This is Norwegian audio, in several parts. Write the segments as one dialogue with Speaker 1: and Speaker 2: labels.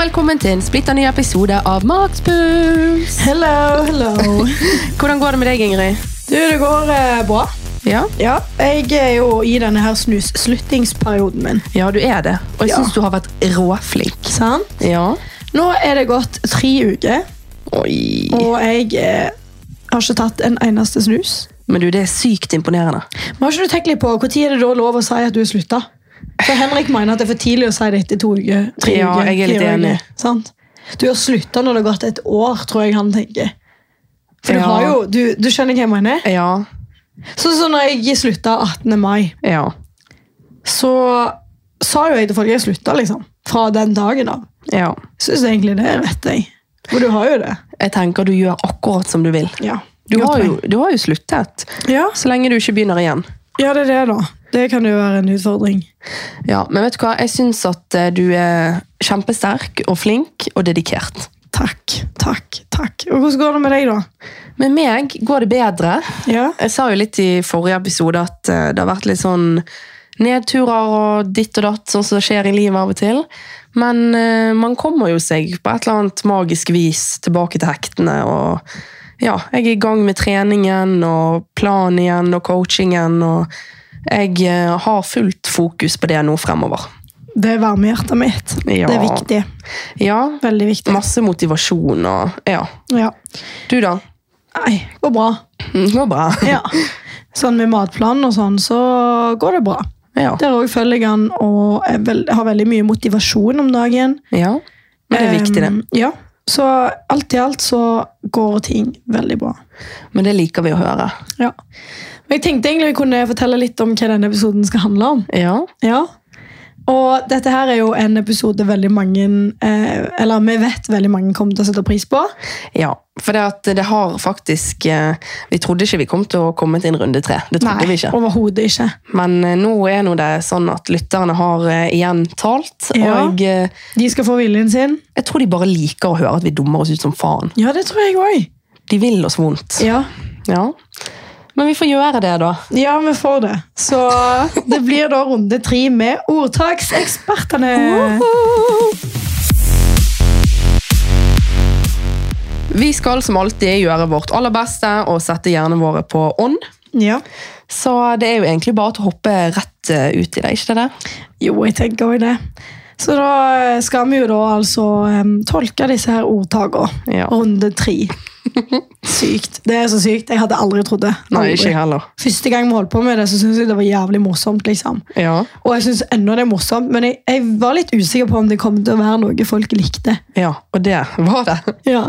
Speaker 1: Velkommen til en splitter ny episode av Makspuls!
Speaker 2: Hello, hello.
Speaker 1: Hvordan går det med deg, Ingrid?
Speaker 2: Du, det går eh, bra.
Speaker 1: Ja,
Speaker 2: Ja, jeg er jo i denne her snus-sluttingsperioden min.
Speaker 1: ja du er det. Og jeg
Speaker 2: Ja.
Speaker 1: syns du har vært råflink.
Speaker 2: Sant?
Speaker 1: Ja.
Speaker 2: Nå er det gått tre uker,
Speaker 1: Oi.
Speaker 2: og jeg eh, har ikke tatt en eneste snus.
Speaker 1: Men du, det er sykt imponerende.
Speaker 2: Men har ikke du tenkt litt på hvor tid er det da lov å si at du har slutta? For Henrik mener at det er for tidlig å si det etter to uker. Tre
Speaker 1: Ja,
Speaker 2: uker,
Speaker 1: jeg er litt
Speaker 2: fire
Speaker 1: enig.
Speaker 2: uker, Sant? Du har slutta når det har gått et år, tror jeg han tenker. For
Speaker 1: Ja.
Speaker 2: du har jo, du, du skjønner hva jeg mener?
Speaker 1: Ja.
Speaker 2: Sånn som når jeg slutta 18. mai.
Speaker 1: Ja.
Speaker 2: så sa jo jeg til folk at jeg slutta, liksom. Fra den dagen av.
Speaker 1: ja.
Speaker 2: Syns egentlig det er rett, jeg. Og du har jo det.
Speaker 1: Jeg tenker du gjør akkurat som du vil.
Speaker 2: Ja.
Speaker 1: Du har, jo, du har jo sluttet.
Speaker 2: ja.
Speaker 1: Så lenge du ikke begynner igjen.
Speaker 2: ja, det er det, da. Det kan jo være en utfordring.
Speaker 1: Ja, Men vet du hva? jeg syns at eh, du er kjempesterk og flink og dedikert.
Speaker 2: Takk, takk, takk. Og hvordan går det med deg, da?
Speaker 1: Med meg går det bedre.
Speaker 2: Ja.
Speaker 1: Jeg sa jo litt i forrige episode at eh, det har vært litt sånn nedturer og ditt og datt, sånn som skjer i livet av og til. Men eh, man kommer jo seg på et eller annet magisk vis tilbake til hektene. Og ja, jeg er i gang med treningen og planen igjen og coachingen. Og jeg eh, har fullt fokus på det nå fremover.
Speaker 2: Det varmer hjertet mitt.
Speaker 1: Ja.
Speaker 2: Det er viktig.
Speaker 1: Ja,
Speaker 2: Veldig viktig.
Speaker 1: masse motivasjon og ja.
Speaker 2: Ja.
Speaker 1: Du, da?
Speaker 2: Nei, går bra.
Speaker 1: Det går bra.
Speaker 2: Ja. Sånn med matplanen og sånn, så går det bra.
Speaker 1: Ja.
Speaker 2: Der òg følger jeg han og er vel- har veldig mye motivasjon om dagen.
Speaker 1: ja. Men det er viktig, det.
Speaker 2: Em, Ja. Så alt i alt så går ting veldig bra.
Speaker 1: Men det liker vi å høre.
Speaker 2: Ja. Men jeg tenkte egentlig vi kunne fortelle litt om hva denne episoden skal handle om.
Speaker 1: Ja.
Speaker 2: Ja. Og dette her er jo en episode veldig mange eh, Eller vi vet veldig mange kommer til å sette pris på.
Speaker 1: Ja, for det, at det har faktisk eh, Vi trodde ikke vi kom til å komme til en runde tre. Det trodde vi ikke.
Speaker 2: overhodet ikke.
Speaker 1: Men eh, nå er nå det sånn at lytterne har eh, igjen talt.
Speaker 2: Ja.
Speaker 1: Og eh,
Speaker 2: De skal få viljen sin.
Speaker 1: jeg tror de bare liker å høre at vi dummer oss ut som faen.
Speaker 2: Ja, det tror jeg òg.
Speaker 1: De vil oss vondt.
Speaker 2: Ja.
Speaker 1: Ja. Men vi får gjøre det, da.
Speaker 2: ja, vi får det. Så det blir da runde tre med ordtaksekspertene.
Speaker 1: Vi skal som alltid gjøre vårt aller beste og sette hjernen vår på ånd.
Speaker 2: Ja.
Speaker 1: Så det er jo egentlig bare til å hoppe rett eh, ut i det, ikke det? det?
Speaker 2: Jo, jeg tenker òg det. Så da eh, skal vi jo da altså em, tolke disse her ordtakene.
Speaker 1: Ja.
Speaker 2: Runde tre. Sykt. Det er så sykt. Jeg hadde aldri trodd det.
Speaker 1: Nei,
Speaker 2: Aldri.
Speaker 1: ikke jeg heller.
Speaker 2: Første gang vi holdt på med det, så syntes jeg det var jævlig morsomt. liksom.
Speaker 1: Ja.
Speaker 2: Og jeg syns ennå det er morsomt, men jeg, jeg var litt usikker på om det kom til å være noe folk likte.
Speaker 1: ja, og det var det.
Speaker 2: Ja.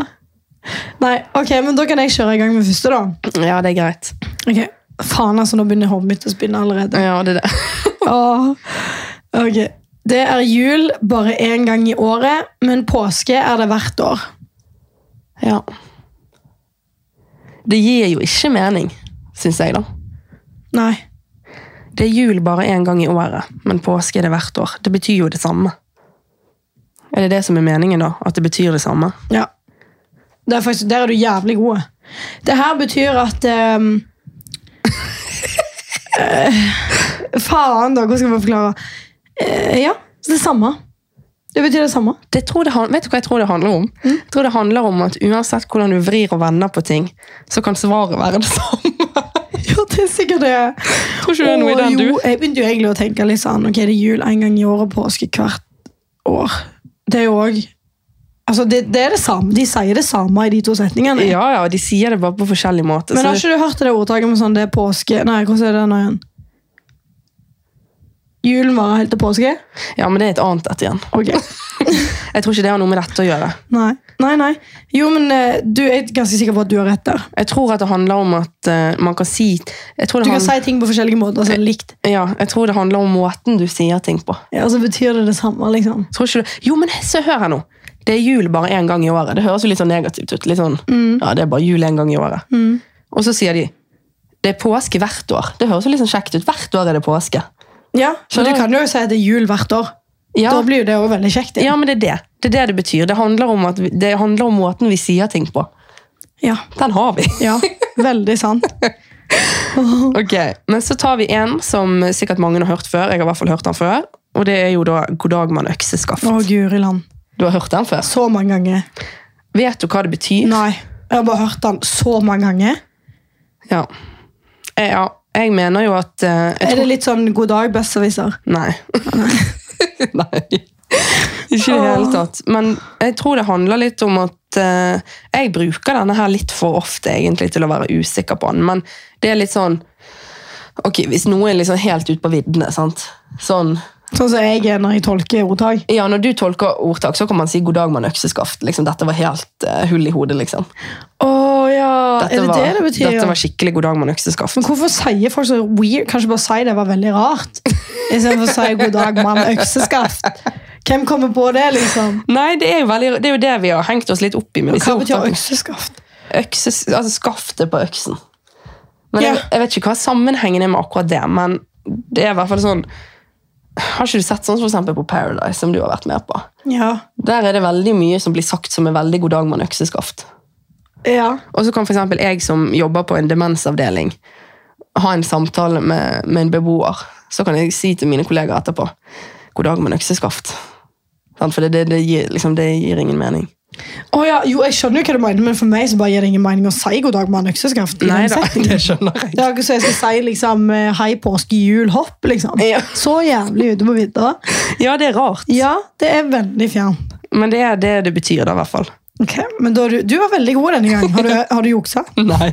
Speaker 2: Nei, ok, men da kan jeg kjøre i gang med første, da.
Speaker 1: Ja, det er greit.
Speaker 2: Ok, Faen, altså, nå begynner hodet mitt å spinne allerede.
Speaker 1: Ja, det er det.
Speaker 2: Åh. Ok. Det er jul bare én gang i året, men påske er det hvert år.
Speaker 1: Ja. Det gir jo ikke mening, syns jeg, da.
Speaker 2: Nei.
Speaker 1: Det er jul bare én gang i året, men påske er det hvert år. Det betyr jo det samme. Er det det som er meningen, da? At det betyr det samme?
Speaker 2: Ja. Det er faktisk, der er du jævlig god. Det her betyr at ehm, eh, Faen, da. Hvordan skal man forklare? Eh, ja, det samme. Det betyr det samme.
Speaker 1: Det tror det, han- vet du hva jeg tror det handler om? Jeg tror det handler om at uansett hvordan du vrir og vender på ting, så kan svaret være det samme.
Speaker 2: Ja, det er sikkert det.
Speaker 1: Tror ikke det er noe i
Speaker 2: Og
Speaker 1: den, du.
Speaker 2: jo, jeg begynte jo egentlig å tenke litt sånn Ok, det er jul en gang i året og påske hvert år. Det er jo òg Altså, det, det er det samme. De sier det samme i de to setningene.
Speaker 1: Ja, ja, de sier det bare på forskjellig måte.
Speaker 2: Men
Speaker 1: så
Speaker 2: har ikke du hørt det ordtaket med sånn det er påske Nei, hvordan er det nå igjen? Julen varer helt til påske?
Speaker 1: Ja, men det er et annet et igjen.
Speaker 2: Ok.
Speaker 1: Jeg tror ikke det har noe med dette å gjøre.
Speaker 2: Nei. Nei, nei. Jo, men eh, du jeg er ganske sikker på at du har rett der.
Speaker 1: Jeg tror at det handler om at eh, man kan si jeg tror,
Speaker 2: Du
Speaker 1: det
Speaker 2: kan
Speaker 1: han-
Speaker 2: si ting på forskjellige måter som er likt.
Speaker 1: ja, jeg tror det handler om måten du sier ting på.
Speaker 2: Ja, Så betyr det det samme, liksom.
Speaker 1: Jeg Tror ikke du... Jo, men se, hør her nå. Det er jul bare én gang i året. Det høres jo litt sånn negativt ut. Litt sånn,
Speaker 2: Mm.
Speaker 1: ja, det er bare jul en gang i året. Og så sier de det er påske hvert år. Det høres jo litt sånn kjekt ut. Hvert år er det påske.
Speaker 2: Ja, Så
Speaker 1: Skjønner
Speaker 2: du
Speaker 1: du?
Speaker 2: kan jo si at det er jul hvert år.
Speaker 1: Ja,
Speaker 2: Da blir jo det også veldig kjekt.
Speaker 1: ja men det er det. Det er det det betyr. Det handler om, at vi... det handler om måten vi sier ting på.
Speaker 2: Ja.
Speaker 1: Den har vi.
Speaker 2: ja. Veldig sant.
Speaker 1: Ok, men så tar vi en som sikkert mange har hørt før. Jeg har i hvert fall hørt den før. Og det er jo da God dag, mann økseskaft.
Speaker 2: Å, guri land.
Speaker 1: Du har hørt den før?
Speaker 2: Så mange ganger.
Speaker 1: Vet du hva det betyr?
Speaker 2: Nei. Jeg har bare hørt den så mange ganger.
Speaker 1: Ja. Eh, ja. Jeg mener jo at eh, jeg
Speaker 2: Er
Speaker 1: tror...
Speaker 2: det litt sånn god dag, besteviser?
Speaker 1: Nei. Nei. Ikke i det hele tatt. Men jeg tror det handler litt om at eh, jeg bruker denne her litt for ofte egentlig til å være usikker på den. Men det er litt sånn Ok, hvis noe er liksom helt ut på viddene, sant. Sånn
Speaker 2: Sånn som jeg er når jeg tolker ordtak.
Speaker 1: Ja, når du tolker ordtak, så kan man si 'god dag, mann økseskaft'. Liksom, dette var helt eh, hull i hodet, liksom.
Speaker 2: Å ja,
Speaker 1: Dette
Speaker 2: er det
Speaker 1: var,
Speaker 2: det det betyr?
Speaker 1: Dette
Speaker 2: ja?
Speaker 1: var skikkelig 'god dag, mann økseskaft'.
Speaker 2: Men hvorfor sier folk så weird? Kanskje bare si det var veldig rart? Istedenfor å si god dag, mann, økseskaft. Hvem kommer på det, liksom?
Speaker 1: Nei, det er, jo veldig, det er jo det vi har hengt oss litt opp i med disse
Speaker 2: Hva betyr
Speaker 1: ordtakene.
Speaker 2: økseskaft?
Speaker 1: Økse, altså skaftet på øksen. Men jeg,
Speaker 2: Ja.
Speaker 1: jeg vet ikke hva sammenhengen er med akkurat det, men det er i hvert fall sånn Har ikke du sett sånn som for eksempel på Paradise, som du har vært med på?
Speaker 2: Ja.
Speaker 1: Der er det veldig mye som blir sagt som er veldig god dag, mann økseskaft.
Speaker 2: ja.
Speaker 1: Og så kan for eksempel jeg som jobber på en demensavdeling, ha en samtale med, med en beboer. Så kan jeg si til mine kollegaer etterpå 'God dag, mann økseskaft'. Sant? For det, det, det, gir, liksom, det gir ingen mening.
Speaker 2: Å ja, jo, jeg skjønner jo hva du mener, men for meg så bare gir det ingen mening å si god dag, mann, økseskaft. i den setningen.
Speaker 1: det skjønner jeg.
Speaker 2: Det er ikke så jeg skal si liksom eh, hei, påske, jul, hopp, liksom.
Speaker 1: Ja.
Speaker 2: Så jævlig ute på vidda.
Speaker 1: Ja, det er rart.
Speaker 2: Ja, det er veldig fjernt.
Speaker 1: Men det er det det betyr, da, i hvert fall.
Speaker 2: Ok, men da, har du, du var veldig god denne gangen. Har du, har du juksa?
Speaker 1: Nei.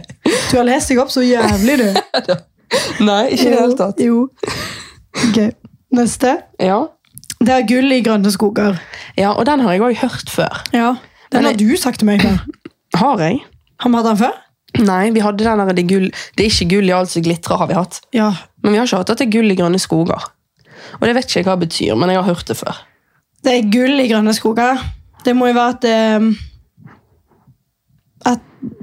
Speaker 2: Du har lest deg opp så jævlig, du.
Speaker 1: Nei, ikke i det hele tatt.
Speaker 2: Jo. Ok, neste.
Speaker 1: Ja.
Speaker 2: Det er gull i grønne skoger.
Speaker 1: ja, og den har jeg òg hørt før.
Speaker 2: Ja. Den
Speaker 1: Men
Speaker 2: har du sagt til meg før.
Speaker 1: Har jeg?
Speaker 2: Har vi hatt den før?
Speaker 1: Nei, vi hadde den der det, er gull. det er ikke gull i alt som glitrer, har vi hatt.
Speaker 2: Ja.
Speaker 1: Men vi har ikke hatt at det er gull i grønne skoger. Og det vet ikke jeg hva det betyr, men jeg har hørt det før.
Speaker 2: Det er gull i grønne skoger. Det må jo være at eh, At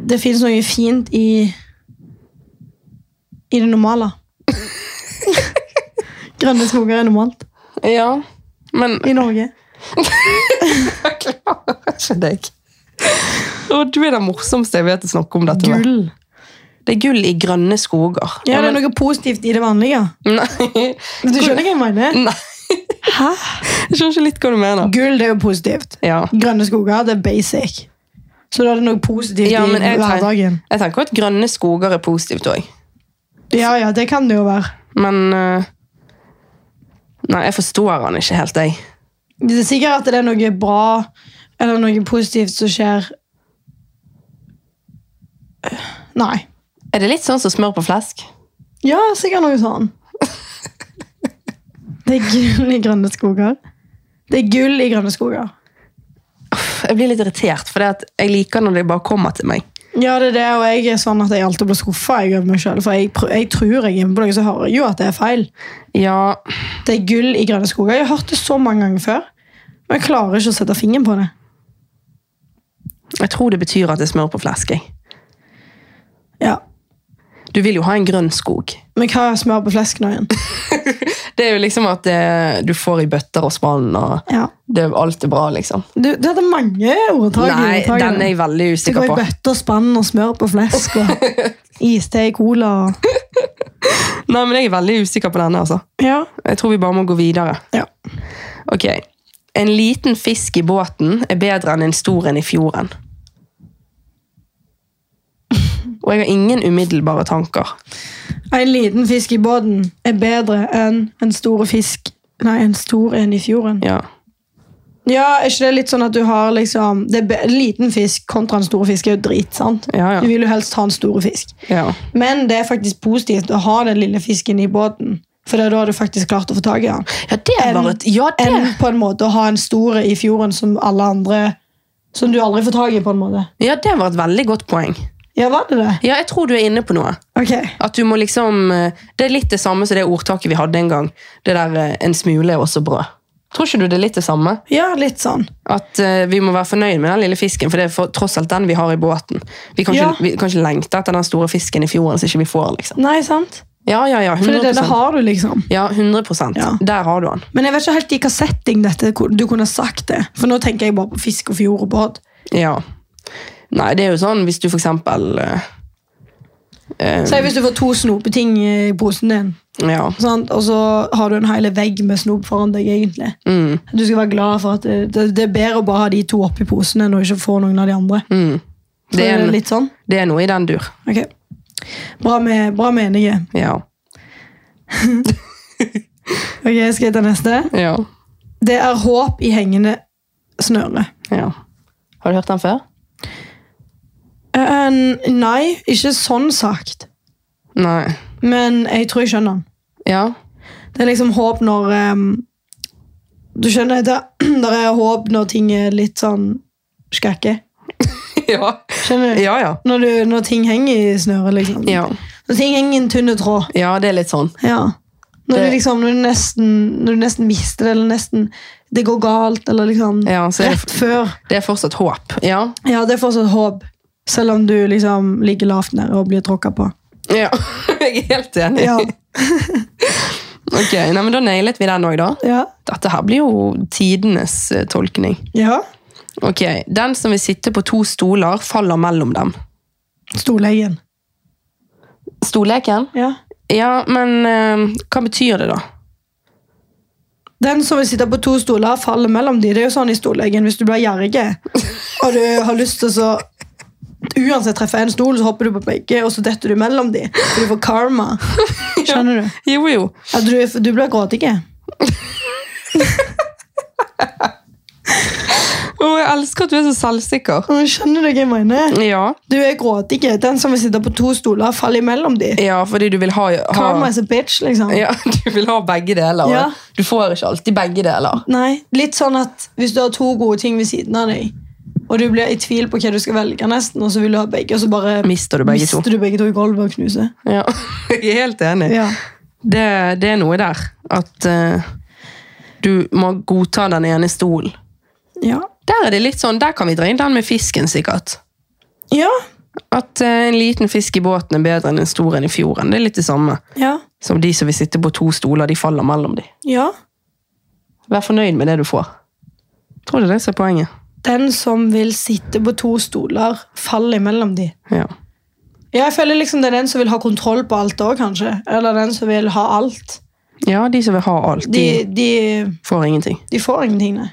Speaker 2: det finnes noe fint i I det normale. grønne skoger er normalt
Speaker 1: Ja, men
Speaker 2: i Norge.
Speaker 1: Jeg klarer ikke deg. Og du er den morsomste jeg vet å snakke om dette med.
Speaker 2: Gull.
Speaker 1: Det er gull i grønne skoger.
Speaker 2: Ja, det er
Speaker 1: men-
Speaker 2: noe positivt i det vanlige.
Speaker 1: Nei.
Speaker 2: Men du skjønner hva jeg mener?
Speaker 1: Nei,
Speaker 2: Hæ?
Speaker 1: jeg skjønner ikke litt hva du mener.
Speaker 2: Gull det er jo positivt.
Speaker 1: Ja.
Speaker 2: Grønne skoger det er basic. Så da er det noe positivt
Speaker 1: Ja, men
Speaker 2: i
Speaker 1: jeg tenker-
Speaker 2: hverdagen.
Speaker 1: Jeg tenker at grønne skoger er positivt òg,
Speaker 2: Ja, ja, det kan det jo være.
Speaker 1: men eh, Nei, jeg forstår han ikke helt, jeg.
Speaker 2: Det er sikkert at det er noe bra eller noe positivt som skjer Nei.
Speaker 1: Er det litt sånn som smør på flesk?
Speaker 2: Ja, sikkert noe sånn. Det er gull i grønne skoger. Det er gull i grønne skoger.
Speaker 1: Jeg blir litt irritert, for det at jeg liker når de bare kommer til meg.
Speaker 2: Ja, det er det, og jeg er sånn at jeg alltid blir skuffa over meg sjøl. For jeg, prø- jeg tror jeg er inne på noe, så hører jeg jo at det er feil.
Speaker 1: Ja,
Speaker 2: Det er gull i grønne skoger. Jeg har hørt det så mange ganger før, men jeg klarer ikke å sette fingeren på det.
Speaker 1: jeg tror det betyr at det er smør på flesk. jeg.
Speaker 2: Ja,
Speaker 1: Du vil jo ha en grønn skog.
Speaker 2: Men hva er smør på flesk nå igjen?
Speaker 1: Det er jo liksom at eh, du får i bøtter og spann, og
Speaker 2: Ja.
Speaker 1: det, alt er bra, liksom.
Speaker 2: Du, du hadde mange ordtak. i
Speaker 1: Nei,
Speaker 2: ordtaket.
Speaker 1: den er jeg veldig
Speaker 2: Det går
Speaker 1: usikker
Speaker 2: i
Speaker 1: på.
Speaker 2: bøtter, spann og smør på flesk og iste i cola. og-
Speaker 1: Nei, men jeg er veldig usikker på denne, altså.
Speaker 2: Ja.
Speaker 1: Jeg tror vi bare må gå videre.
Speaker 2: ja.
Speaker 1: Ok. En liten fisk i båten er bedre enn en stor en i fjorden. Og jeg har ingen umiddelbare tanker.
Speaker 2: En liten fisk i båten er bedre enn en stor fisk Nei, en stor en i fjorden.
Speaker 1: Ja.
Speaker 2: Ja, er ikke det litt sånn at du har liksom det er be- En liten fisk kontra en stor fisk er jo drit, sant?
Speaker 1: Ja, ja.
Speaker 2: Du vil jo helst ha en stor fisk.
Speaker 1: ja.
Speaker 2: Men det er faktisk positivt å ha den lille fisken i båten. For det er da har du faktisk klart å få tak i den.
Speaker 1: Ja, det
Speaker 2: Enn-
Speaker 1: var et Ja, det!
Speaker 2: Enn på en måte å ha en stor i fjorden som alle andre Som du aldri får tak i, på en måte.
Speaker 1: Ja, det var et veldig godt poeng.
Speaker 2: Ja, var det det?
Speaker 1: Ja, jeg tror du er inne på noe.
Speaker 2: Ok.
Speaker 1: At du må liksom eh, Det er litt det samme som det ordtaket vi hadde en gang. Det der eh, 'en smule er også brød'. Tror ikke du det er litt det samme?
Speaker 2: Ja, litt sånn.
Speaker 1: At eh, vi må være fornøyd med den lille fisken, for det er for, tross alt den vi har i båten. Vi kan ikke,
Speaker 2: Ja.
Speaker 1: vi kan ikke lengte etter den store fisken i fjorden som ikke vi får, liksom.
Speaker 2: Nei, sant?
Speaker 1: Ja, ja, ja, 100
Speaker 2: For det, er det, det har du, liksom.
Speaker 1: Ja, 100
Speaker 2: Ja.
Speaker 1: Der har du den.
Speaker 2: Men jeg vet ikke helt i hva setting dette hvor du kunne sagt det. For nå tenker jeg bare på fisk og fjord og båt.
Speaker 1: Ja. Nei, det er jo sånn hvis du for eksempel eh, Eh,
Speaker 2: Si hvis du får to snopeting i posen din,
Speaker 1: ja.
Speaker 2: sant? og så har du en hel vegg med snop foran deg. egentlig.
Speaker 1: Mm,
Speaker 2: Du skal være glad for at det, det, det er bedre å bare ha de to oppi posen enn å ikke få noen av de andre.
Speaker 1: mm.
Speaker 2: Så
Speaker 1: Det, er en,
Speaker 2: litt sånn.
Speaker 1: det er noe i den dur.
Speaker 2: Ok. Bra, med, bra menige.
Speaker 1: Ja.
Speaker 2: Ok, Skal jeg ta neste?
Speaker 1: ja.
Speaker 2: Det er håp i hengende snøre.
Speaker 1: ja. Har du hørt den før?
Speaker 2: Eh, nei, ikke sånn sagt.
Speaker 1: Nei.
Speaker 2: Men jeg tror jeg skjønner den.
Speaker 1: Ja.
Speaker 2: Det er liksom håp når ehm, Du skjønner, det, det er håp når ting er litt sånn skakke.
Speaker 1: ja.
Speaker 2: Skjønner du?
Speaker 1: Ja, ja.
Speaker 2: Når, du, når ting henger i snøret, liksom.
Speaker 1: Mm. Ja.
Speaker 2: Når ting henger i en tynn tråd.
Speaker 1: Ja, det er litt sånn.
Speaker 2: Ja. Når,
Speaker 1: Det-
Speaker 2: du liksom, når, du nesten, når du nesten mister det, eller nesten det går galt, eller liksom
Speaker 1: Ja, så er det-
Speaker 2: rett før.
Speaker 1: Det er fortsatt håp. Ja.
Speaker 2: Ja, det er fortsatt håp. Selv om du liksom ligger lavt nede og blir tråkka på.
Speaker 1: ja. Jeg er helt enig.
Speaker 2: Ja,
Speaker 1: Ok, nei, men Da nailet vi den òg, da.
Speaker 2: ja,
Speaker 1: Dette her blir jo tidenes eh, tolkning.
Speaker 2: ja.
Speaker 1: Ok, Den som vil sitte på to stoler, faller mellom dem.
Speaker 2: Storlegen.
Speaker 1: Stolleken?
Speaker 2: Ja.
Speaker 1: Ja, men eh, hva betyr det, da?
Speaker 2: Den som vil sitte på to stoler, faller mellom de. Det er jo sånn i storlegen hvis du blir gjerrig og du har lyst til å så Uansett treffe en stol, så hopper du på begge, og så detter du mellom de. For du får karma. Skjønner du?
Speaker 1: Jo, jo.
Speaker 2: Ja, du, du blir gråtig.
Speaker 1: Å, jeg elsker at du er så selvsikker.
Speaker 2: Skjønner du hva jeg mener?
Speaker 1: Ja,
Speaker 2: Du er gråtig. Den som vil sitte på to stoler, faller imellom de.
Speaker 1: ja fordi du vil ha, ha
Speaker 2: Karma is a bitch, liksom.
Speaker 1: ja, Du vil ha begge deler.
Speaker 2: Ja.
Speaker 1: Du får ikke alltid begge deler.
Speaker 2: Nei, litt sånn at hvis du har to gode ting ved siden av deg, og du blir i tvil på hva du skal velge nesten, og så vil du ha begge, og så bare
Speaker 1: Mister du begge to.
Speaker 2: mister du begge to i gulvet og knuser.
Speaker 1: Ja, jeg er helt enig.
Speaker 2: Ja.
Speaker 1: Det, det er noe der. At eh, du må godta den ene stolen.
Speaker 2: Ja.
Speaker 1: Der er det litt sånn, der kan vi dra inn den med fisken, sikkert.
Speaker 2: Ja.
Speaker 1: At eh, en liten fisk i båten er bedre enn en stor en i fjorden. Det er litt det samme.
Speaker 2: Ja.
Speaker 1: Som de som vil sitte på to stoler, de faller mellom de.
Speaker 2: ja.
Speaker 1: Vær fornøyd med det du får. Tror du det er det som er poenget?
Speaker 2: Den som vil sitte på to stoler, faller imellom de.
Speaker 1: Ja.
Speaker 2: Ja, jeg føler liksom det er den som vil ha kontroll på alt òg, kanskje. Eller den som vil ha alt.
Speaker 1: ja, de som vil ha alt, de,
Speaker 2: De, de,
Speaker 1: får ingenting.
Speaker 2: de får ingenting, nei.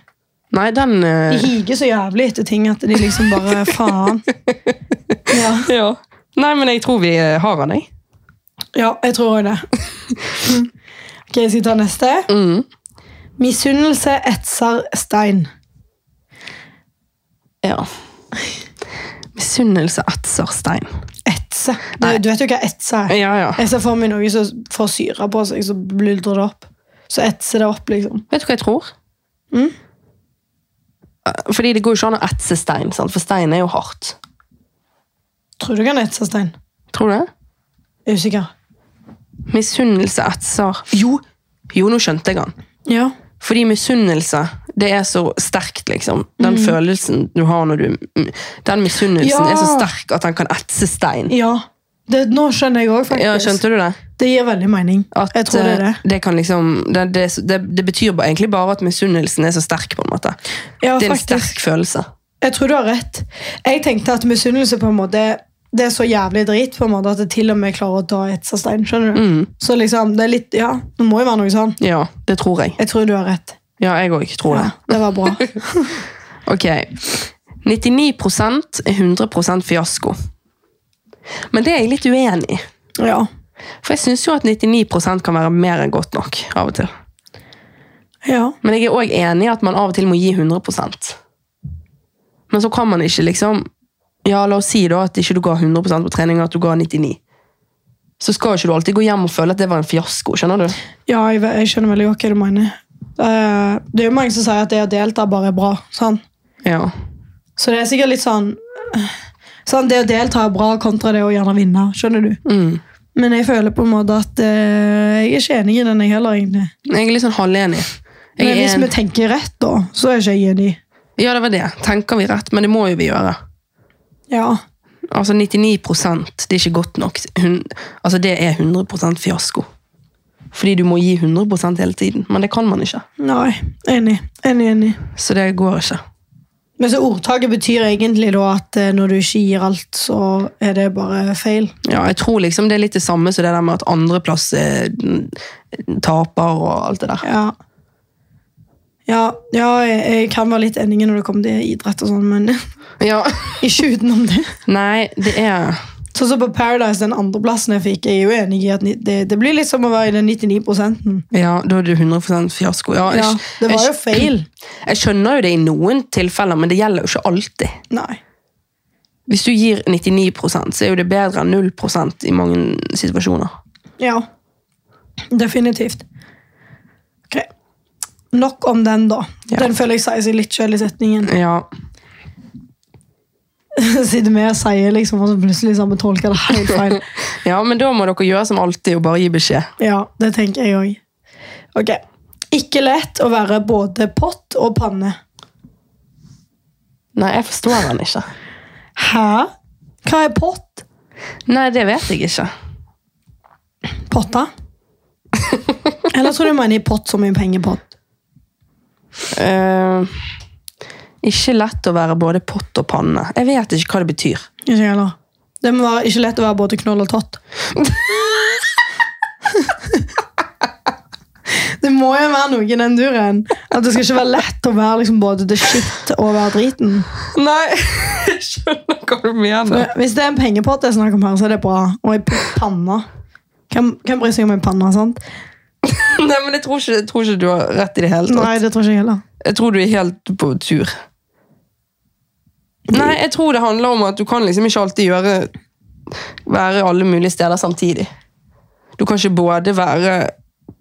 Speaker 1: Nei, den
Speaker 2: De
Speaker 1: eh,
Speaker 2: higer så jævlig etter ting at de liksom bare Faen. Ja,
Speaker 1: ja. Nei, men jeg tror vi eh, har den, jeg.
Speaker 2: ja jeg tror òg det. Ok, Skal jeg ta neste?
Speaker 1: Mm.
Speaker 2: Misunnelse etser stein.
Speaker 1: Ja. Misunnelse etser stein.
Speaker 2: Etse. Du,
Speaker 1: Nei.
Speaker 2: du vet jo hva etse er.
Speaker 1: Ja, ja.
Speaker 2: Jeg ser for meg noe som får syre på seg, så bluldrer det opp. Så etser det opp, liksom.
Speaker 1: Vet du hva jeg tror?
Speaker 2: Mm.
Speaker 1: Eh, Fordi det går jo ikke an å etse stein, sant? for stein er jo hardt.
Speaker 2: Tror du kan etse stein?
Speaker 1: Tror du det?
Speaker 2: Jeg er usikker.
Speaker 1: Misunnelse etser Jo! Jo, nå skjønte jeg den.
Speaker 2: Ja.
Speaker 1: Fordi misunnelse, det er så sterkt, liksom. Den
Speaker 2: Mm.
Speaker 1: følelsen du har når du mm, Den misunnelsen
Speaker 2: Ja.
Speaker 1: er så sterk at den kan etse stein.
Speaker 2: ja. Det, nå skjønner jeg òg, faktisk.
Speaker 1: Ja, Skjønte du det?
Speaker 2: Det gir veldig mening.
Speaker 1: At,
Speaker 2: jeg tror det er det.
Speaker 1: eh, kan liksom, det, det, det, det betyr bare, egentlig bare at misunnelsen er så sterk, på en måte.
Speaker 2: Ja,
Speaker 1: det er en
Speaker 2: faktisk.
Speaker 1: eh, sterk følelse.
Speaker 2: Jeg tror du har rett. Jeg tenkte at misunnelse på en måte det er så jævlig drit på en måte at det til og med klarer å ta etser stein. skjønner du?
Speaker 1: Mm.
Speaker 2: Så liksom, det er litt, ja, det må jo være noe sånn.
Speaker 1: Ja, det tror jeg.
Speaker 2: Jeg tror du har rett.
Speaker 1: Ja, jeg òg tror det.
Speaker 2: Ja, det var bra.
Speaker 1: Ok. 99 er 100 fiasko. Men det er jeg litt uenig i.
Speaker 2: Ja.
Speaker 1: For jeg syns jo at 99 kan være mer enn godt nok av og til.
Speaker 2: Ja.
Speaker 1: Men jeg er òg enig i at man av og til må gi 100 Men så kan man ikke liksom Ja, la oss si da at ikke du ga 100 på trening, og at du ga 99 Så skal jo ikke du alltid gå hjem og føle at det var en fiasko, skjønner du?
Speaker 2: Ja, jeg, ve- jeg skjønner veldig godt hva du mener. Eh, det er jo mange som sier at det å delta bare er bra. sant?
Speaker 1: Ja.
Speaker 2: Så det er sikkert litt sånn, eh, sånn Det å delta er bra kontra det å gjerne vinne. Skjønner du?
Speaker 1: Mm.
Speaker 2: Men jeg føler på en måte at eh, jeg er ikke enig i den, jeg heller. egentlig.
Speaker 1: Jeg er litt sånn halvenig. Jeg
Speaker 2: Men
Speaker 1: er
Speaker 2: hvis
Speaker 1: en-
Speaker 2: vi tenker rett, da, så er ikke jeg enig.
Speaker 1: Ja, det var det. Tenker vi rett, men det må jo vi gjøre.
Speaker 2: Ja.
Speaker 1: Altså 99 det er ikke godt nok. Hun, altså Det er 100 fiasko. Fordi du må gi 100 hele tiden, men det kan man ikke.
Speaker 2: Nei. Enig. Enig, enig.
Speaker 1: Så det går ikke.
Speaker 2: Men så ordtaket betyr egentlig da at eh, når du ikke gir alt, så er det bare feil.
Speaker 1: Ja, jeg tror liksom det er litt det samme som det der med at andreplass eh, mm, taper og alt det der.
Speaker 2: Ja, ja, ja jeg, jeg kan være litt enig når det kommer til idrett og sånn, men
Speaker 1: Ja.
Speaker 2: ikke utenom det.
Speaker 1: Nei, det er
Speaker 2: Sånn som på Paradise, den andreplassen jeg fikk, jeg er jo enig i at ni- det, det blir litt som å være i den 99
Speaker 1: Ja, da er det 100 fiasko. Ja, jeg,
Speaker 2: Ja, det var jo
Speaker 1: jeg,
Speaker 2: feil.
Speaker 1: jeg skjønner jo det i noen tilfeller, men det gjelder jo ikke alltid.
Speaker 2: Nei.
Speaker 1: Hvis du gir 99 så er jo det bedre enn 0 i mange situasjoner.
Speaker 2: Ja. Definitivt. Ok. Nok om den, da.
Speaker 1: Ja.
Speaker 2: Den føler jeg sier seg litt sjøl i setningen.
Speaker 1: Ja.
Speaker 2: Siden vi sier liksom, og så plutselig så har vi tolka det helt feil.
Speaker 1: ja, men da må dere gjøre som alltid og bare gi beskjed.
Speaker 2: Ja, det tenker jeg òg. Ok. Ikke lett å være både pott og panne.
Speaker 1: Nei, jeg forstår den ikke.
Speaker 2: Hæ? Hva er pott?
Speaker 1: Nei, det vet jeg ikke.
Speaker 2: Potta? Eller tror du jeg mener i pott som i pengepott?
Speaker 1: Eh, ikke lett å være både pott og panne. Jeg vet ikke hva det betyr.
Speaker 2: Ikke jeg heller. Det må være ikke lett å være både knoll og tott. det må jo være noe i den duren. At det skal ikke være lett å være liksom både the shit og være driten.
Speaker 1: Nei, jeg skjønner hva du mener.
Speaker 2: Men Hvis det er en pengepott jeg snakker om her, så er det bra. Og en panne. Hvem, hvem bryr seg om en panne? sant?
Speaker 1: Nei, men jeg tror, ikke, jeg tror ikke du har rett i det hele tatt.
Speaker 2: Nei, det tror ikke jeg heller.
Speaker 1: Jeg tror du er helt på tur. Nei, jeg tror det handler om at du kan liksom ikke alltid gjøre Være alle mulige steder samtidig. Du kan ikke både være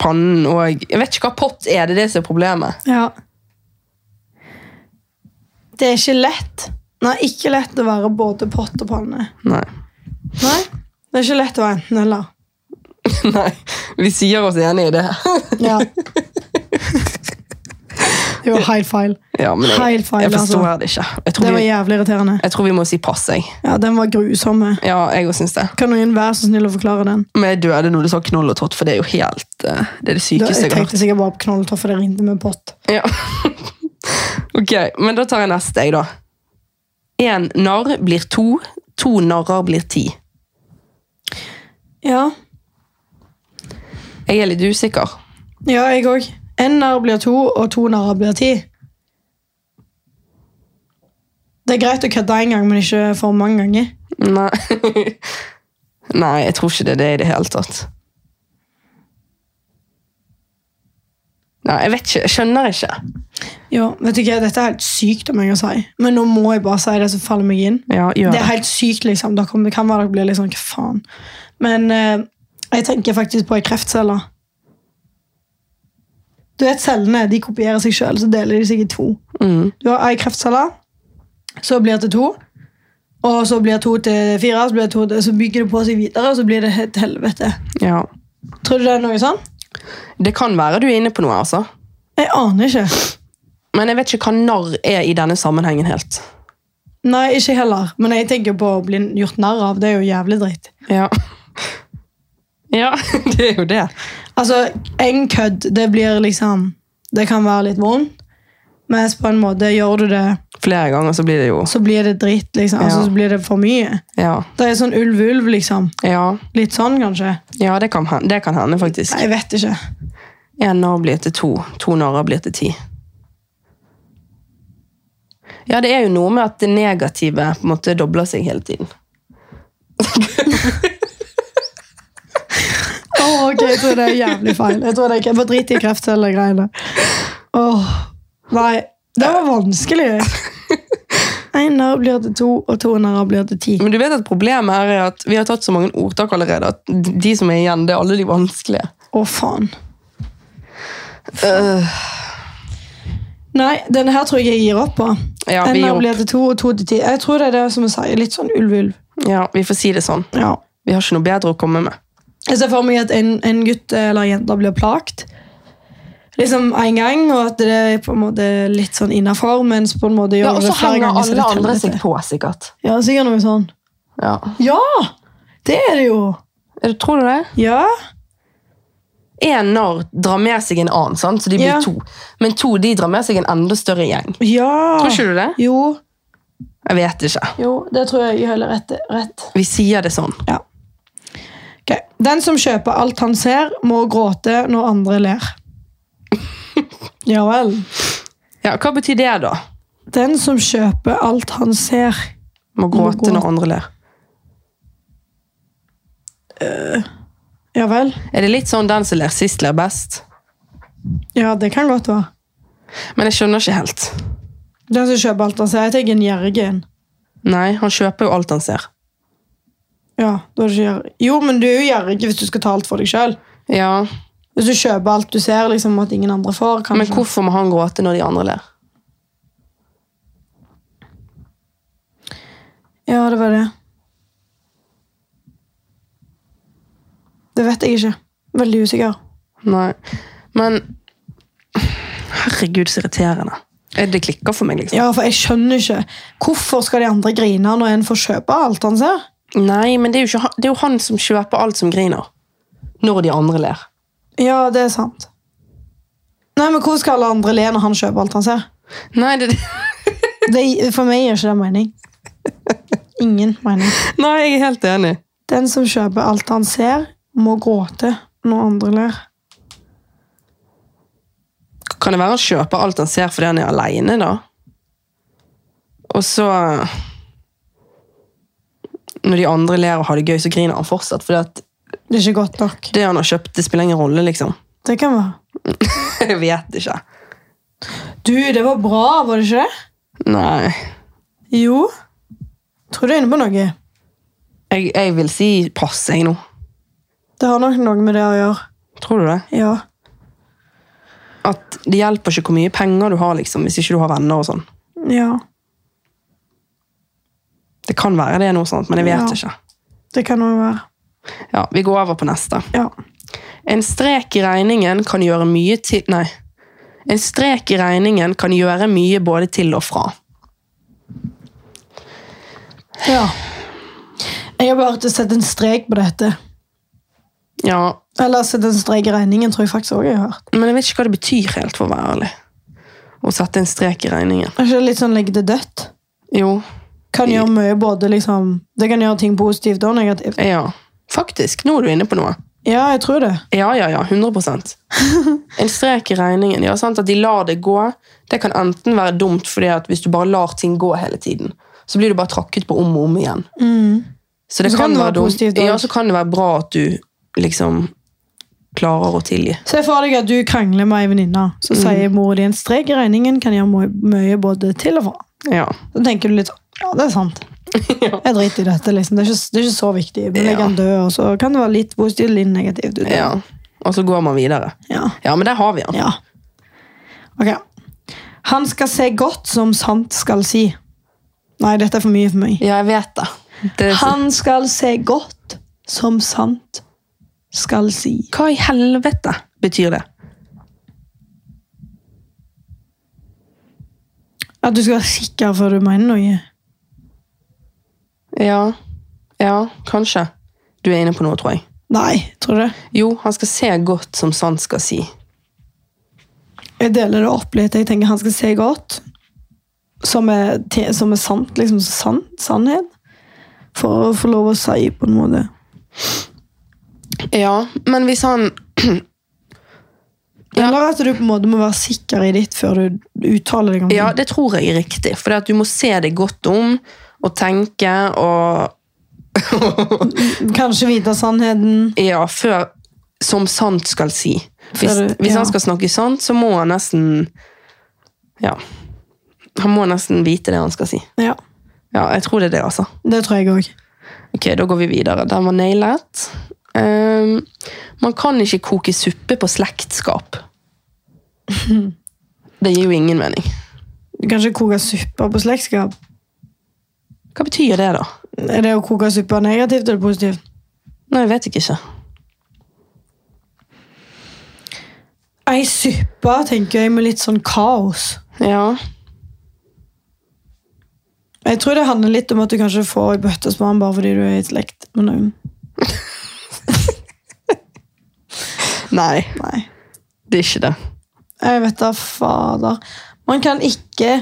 Speaker 1: pannen og Jeg vet ikke hva pott er, det er det som er problemet.
Speaker 2: Ja. Det er ikke lett. Nei, ikke lett å være både pott og panne.
Speaker 1: Nei.
Speaker 2: Nei, det er ikke lett å være enten eller.
Speaker 1: Nei. Vi sier oss enig i det.
Speaker 2: Ja. Det var helt feil.
Speaker 1: Ja, men jeg,
Speaker 2: Helt feil,
Speaker 1: jeg forstår
Speaker 2: altså.
Speaker 1: det ikke. Jeg
Speaker 2: Det
Speaker 1: tror,
Speaker 2: var
Speaker 1: vi,
Speaker 2: jævlig irriterende.
Speaker 1: jeg tror vi må si pass, jeg.
Speaker 2: Ja, Den var grusom. jeg.
Speaker 1: Ja, jeg også syns det.
Speaker 2: Kan noen være så snill å forklare den?
Speaker 1: Men jeg døde når du sa knoll og tott, for det er jo helt eh, Det er det
Speaker 2: Da,
Speaker 1: sykeste
Speaker 2: jeg
Speaker 1: jeg har hørt.
Speaker 2: tenkte sikkert bare på knolltoff, for det ringte med pott.
Speaker 1: Ja. ok, men da tar jeg neste, jeg, da. Én narr blir to, to narrer blir ti.
Speaker 2: Ja,
Speaker 1: Jeg er litt usikker.
Speaker 2: ja jeg òg. Én narr blir to, og to narrer blir ti. Det er greit å kødde en gang, men ikke for mange ganger.
Speaker 1: Nei. Nei, jeg tror ikke det er det i det hele tatt. Nei, jeg vet ikke. Jeg skjønner ikke.
Speaker 2: Ja, vet du hva, Dette er helt sykt om jeg å si, men nå må jeg bare si det som faller meg inn.
Speaker 1: Ja, gjør
Speaker 2: Det er
Speaker 1: det.
Speaker 2: helt sykt, liksom. Dere, det kan være dere blir litt sånn, hva faen? Men eh, jeg tenker faktisk på ei kreftcelle. Du vet, cellene de kopierer seg sjøl, så deler de seg i to.
Speaker 1: Mm.
Speaker 2: Du har ei kreftcelle, så blir det to. Og så blir to til fire, så, blir det to til, så bygger det på seg videre, og så blir det et helvete.
Speaker 1: Ja.
Speaker 2: Tror du det er noe sånn?
Speaker 1: Det kan være du er inne på noe, altså.
Speaker 2: Jeg aner ikke.
Speaker 1: Men jeg vet ikke hva narr er i denne sammenhengen helt.
Speaker 2: Nei, ikke heller. Men jeg tenker på å bli gjort narr av. Det er jo jævlig dritt.
Speaker 1: Ja. Ja, det er jo det.
Speaker 2: Altså, en kødd, det blir liksom Det kan være litt vondt, mens på en måte gjør du det,
Speaker 1: Flere ganger så blir det jo
Speaker 2: så blir det dritt, liksom. Altså,
Speaker 1: Ja.
Speaker 2: så blir det for mye.
Speaker 1: Ja.
Speaker 2: Det er sånn ulv-ulv, liksom.
Speaker 1: Ja,
Speaker 2: Litt sånn, kanskje.
Speaker 1: ja det, kan hende, det kan hende, faktisk.
Speaker 2: Nei, jeg vet ikke.
Speaker 1: Én narr blir til to, to narrer blir til ti. Ja, det er jo noe med at det negative på en måte dobler seg hele tiden.
Speaker 2: Åh, ok, jeg tror det er jævlig feil. Jeg tror det er jeg får drit i kreftcellegreiene. Åh, nei. Det var vanskelig. En narr blir til to, og to narrer blir til ti.
Speaker 1: Men du vet at problemet her er at vi har tatt så mange ordtak allerede at de som er igjen, det er alle de vanskelige.
Speaker 2: Å, faen.
Speaker 1: Øh,
Speaker 2: Nei, denne her tror jeg jeg gir opp på.
Speaker 1: ja,
Speaker 2: en
Speaker 1: vi gir
Speaker 2: narr blir
Speaker 1: opp.
Speaker 2: til to, og to til ti. Jeg tror det er det som jeg sier. Litt sånn ulv-ulv.
Speaker 1: Ja, vi får si det sånn.
Speaker 2: Ja.
Speaker 1: Vi har ikke noe bedre å komme med.
Speaker 2: Jeg ser for meg at en, en gutt eller jente blir plagt. Liksom en gang, og at det er på en måte litt sånn innafor, mens på en måte gjør
Speaker 1: Ja, Og
Speaker 2: du
Speaker 1: så
Speaker 2: det flere
Speaker 1: henger
Speaker 2: ganger, så
Speaker 1: alle
Speaker 2: det teller
Speaker 1: andre
Speaker 2: til.
Speaker 1: seg på, sikkert.
Speaker 2: Ja, sikkert noe sånn.
Speaker 1: Ja.
Speaker 2: Ja! Det er det jo!
Speaker 1: Er du- Tror du det?
Speaker 2: Ja.
Speaker 1: En narr drar med seg en annen, sant? så de blir
Speaker 2: Ja.
Speaker 1: to. Men to de drar med seg en enda større gjeng.
Speaker 2: Ja!
Speaker 1: Tror ikke du det?
Speaker 2: Jo.
Speaker 1: Jeg vet ikke.
Speaker 2: jo, det tror jeg jeg holder rett. rett.
Speaker 1: Vi sier det sånn.
Speaker 2: Ja. Ok. Den som kjøper alt han ser, må gråte når andre ler. ja vel.
Speaker 1: Ja, Hva betyr det, da?
Speaker 2: Den som kjøper alt han ser
Speaker 1: Må gråte
Speaker 2: gråte.
Speaker 1: når andre ler.
Speaker 2: Ja vel.
Speaker 1: Er det litt sånn den som ler sist, ler best?
Speaker 2: Ja, det kan godt være.
Speaker 1: Men jeg skjønner ikke helt.
Speaker 2: Den som kjøper alt han ser, jeg tenker en gjerrigen.
Speaker 1: Nei, han kjøper jo alt han ser.
Speaker 2: Ja, da er det ikke gjerrig. Jo, men du er jo gjerrig hvis du skal ta alt for deg sjøl.
Speaker 1: Ja,
Speaker 2: Hvis du kjøper alt du ser, liksom at ingen andre får,
Speaker 1: Men
Speaker 2: kanskje.
Speaker 1: hvorfor må han gråte når de andre ler?
Speaker 2: Ja, det var det. Det vet jeg ikke. Veldig usikker.
Speaker 1: Nei. Men Herregud, så irriterende. Eh, Det klikker for meg, liksom.
Speaker 2: Ja, for jeg skjønner ikke. Hvorfor skal de andre grine når en får kjøpe alt han ser?
Speaker 1: Nei, men det er, jo ikke, han- det er jo han som kjøper alt som griner. Når de andre ler.
Speaker 2: Ja, det er sant. Nei, men Hvorfor skal alle andre le når han kjøper alt han ser?
Speaker 1: Nei, det,
Speaker 2: Det, for meg gir ikke det mening. Ingen mening.
Speaker 1: nei, jeg er helt enig.
Speaker 2: Den som kjøper alt han ser, må gråte når andre ler.
Speaker 1: Kan det være han kjøper alt han ser fordi han er aleine, da? Og så Når de andre ler og har det gøy, så griner han fortsatt. Fordi at
Speaker 2: Det er ikke godt nok.
Speaker 1: det han har kjøpt, det spiller ingen rolle, liksom.
Speaker 2: Det kan være.
Speaker 1: Jeg vet ikke.
Speaker 2: Du, det var bra, var det ikke det?
Speaker 1: Nei.
Speaker 2: Jo. Tror du er inne på noe.
Speaker 1: Jeg, jeg vil si pass, jeg nå.
Speaker 2: Det har nok noe med det å gjøre.
Speaker 1: Tror du det?
Speaker 2: Ja.
Speaker 1: At det hjelper ikke hvor mye penger du har, liksom, hvis ikke du har venner og sånn.
Speaker 2: ja.
Speaker 1: Det kan være det er noe sånt, men jeg vet
Speaker 2: Ja.
Speaker 1: ikke.
Speaker 2: Det kan også være.
Speaker 1: Ja, Vi går over på neste.
Speaker 2: Ja.
Speaker 1: En strek i regningen kan gjøre mye til Nei. En strek i regningen kan gjøre mye både til og fra.
Speaker 2: Ja. Jeg har bare sett en strek på dette.
Speaker 1: Ja,
Speaker 2: Eller sett en strek i regningen, tror jeg faktisk også jeg har hørt.
Speaker 1: men jeg vet ikke hva det betyr helt, for å være ærlig. Å sette en strek i regningen.
Speaker 2: Er ikke det litt sånn legge det dødt?
Speaker 1: Jo.
Speaker 2: Kan gjøre mye både liksom Det kan gjøre ting positivt og negativt.
Speaker 1: Ja. Faktisk. Nå er du inne på noe.
Speaker 2: Ja, jeg tror det.
Speaker 1: Ja, ja, ja. 100 En strek i regningen. Ja, sant? At de lar det gå, det kan enten være dumt fordi at hvis du bare lar ting gå hele tiden, så blir du bare tråkket på om og om igjen. Mm. Så det
Speaker 2: Så
Speaker 1: kan,
Speaker 2: kan det
Speaker 1: være
Speaker 2: være
Speaker 1: dumt.
Speaker 2: positivt også.
Speaker 1: Ja, så kan det være bra at du liksom klarer å tilgi.
Speaker 2: Se for deg at du krangler med ei venninne. Så
Speaker 1: Mm.
Speaker 2: sier mor di en strek i regningen kan gjøre mye- mye både til og fra.
Speaker 1: Ja.
Speaker 2: Så tenker du litt sånn Ja, det er sant. Jeg driter i dette. liksom. Det er ikke, det er ikke så viktig. Men jeg
Speaker 1: Ja.
Speaker 2: kan dø, og så kan det være litt positivt litt negativt. Ut.
Speaker 1: ja. Og så går man videre.
Speaker 2: Ja.
Speaker 1: Ja, men der har vi han.
Speaker 2: Ja. Ok. Han skal se godt som sant skal si. Nei, dette er for mye for meg.
Speaker 1: Ja, jeg vet det. det er så-
Speaker 2: Han skal se godt som sant skal si.
Speaker 1: Hva i helvete betyr det?
Speaker 2: At du skal være sikker før du mener noe.
Speaker 1: Ja. Ja, kanskje. Du er inne på noe, tror jeg.
Speaker 2: Nei, tror du det?
Speaker 1: Jo, han skal se godt som sant skal si.
Speaker 2: Jeg deler det opp litt. Jeg tenker han skal se godt. Som er, te- som er sant, liksom. Sann, sannhet. For å få lov å si, på en måte.
Speaker 1: Ja, men hvis han
Speaker 2: Eller at du på en måte må være sikker i ditt før du uttaler deg om
Speaker 1: Ja, det tror jeg er riktig. For at du må se deg godt om og tenke og
Speaker 2: det. Kanskje vite sannheten.
Speaker 1: Ja, før Som sant skal si. Hvis,
Speaker 2: Før du-
Speaker 1: hvis
Speaker 2: ja.
Speaker 1: han skal snakke sant, så må han nesten Ja. Han må nesten vite det han skal si.
Speaker 2: Ja,
Speaker 1: Ja, jeg tror det er det, altså.
Speaker 2: det tror jeg òg.
Speaker 1: Ok, da går vi videre. Den var nailet. Ehm, man kan ikke koke suppe på slektskap. Det gir jo ingen mening.
Speaker 2: Du kan ikke koke suppe på slektskap.
Speaker 1: Hva betyr det, da?
Speaker 2: Er det å koke suppe negativt eller positivt?
Speaker 1: Nei, jeg vet ikke. ikke.
Speaker 2: Ei suppe tenker jeg med litt sånn kaos.
Speaker 1: Ja.
Speaker 2: Jeg tror det handler litt om at du kanskje får ei bøtte spann bare fordi du er i slekt med noen.
Speaker 1: Nei,
Speaker 2: Nei.
Speaker 1: det er ikke det.
Speaker 2: Jeg vet da, fader. Man kan ikke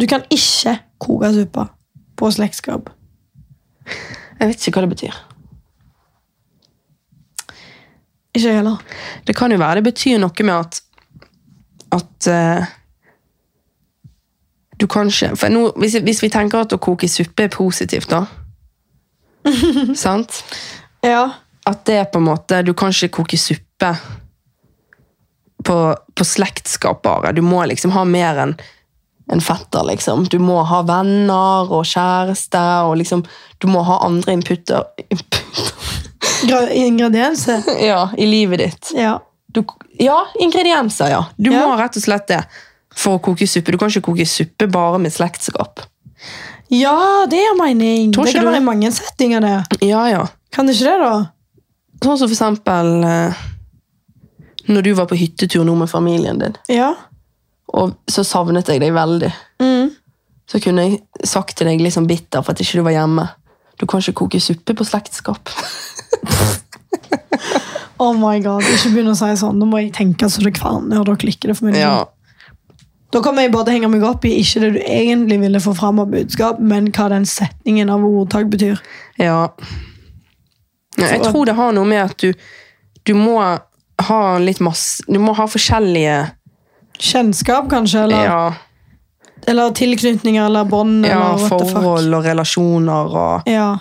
Speaker 2: Du kan ikke koke suppe på slektskap.
Speaker 1: Jeg vet ikke hva det betyr.
Speaker 2: Ikke jeg heller.
Speaker 1: Det kan jo være det betyr noe med at at eh, du kanskje for nå, hvis, hvis vi tenker at å koke suppe er positivt, da Sant?
Speaker 2: Ja.
Speaker 1: At det er på en måte Du kan ikke koke suppe på, på slektskap bare. Du må liksom ha mer enn en fetter, liksom. Du må ha venner og kjæreste og liksom Du må ha andre inputter, inputter
Speaker 2: Gra- Ingredienser.
Speaker 1: ja, i livet ditt.
Speaker 2: Ja.
Speaker 1: Du, ja, ingredienser, ja. Du
Speaker 2: Ja.
Speaker 1: må rett og slett det for å koke suppe. Du kan ikke koke suppe bare med slektskap.
Speaker 2: ja, det er mening.
Speaker 1: Tror
Speaker 2: Det
Speaker 1: ikke
Speaker 2: kan
Speaker 1: du-
Speaker 2: være i mange settinger, det.
Speaker 1: Ja, ja.
Speaker 2: Kan det ikke det, da?
Speaker 1: Sånn som for eksempel eh, når du var på hyttetur nå med familien din,
Speaker 2: Ja.
Speaker 1: og så savnet jeg deg veldig.
Speaker 2: Mm.
Speaker 1: Så kunne jeg sagt til deg litt sånn bitter for at ikke du var hjemme. Du kan ikke koke suppe på slektskap.
Speaker 2: Oh my god, Ikke begynn å si sånn. Nå må jeg tenke så det kverner, og dere liker det. for min del. Da kommer jeg bare til å henge meg opp i ikke det du egentlig ville få fram av budskap, men hva den setningen av ordtak betyr.
Speaker 1: Ja. Nei, jeg
Speaker 2: Så-
Speaker 1: tror det har noe med at du, du må ha litt masse Du må ha forskjellige
Speaker 2: Kjennskap, kanskje? Eller,
Speaker 1: ja,
Speaker 2: eller tilknytninger eller bånd?
Speaker 1: ja,
Speaker 2: eller what the fuck.
Speaker 1: forhold og relasjoner og
Speaker 2: Ja,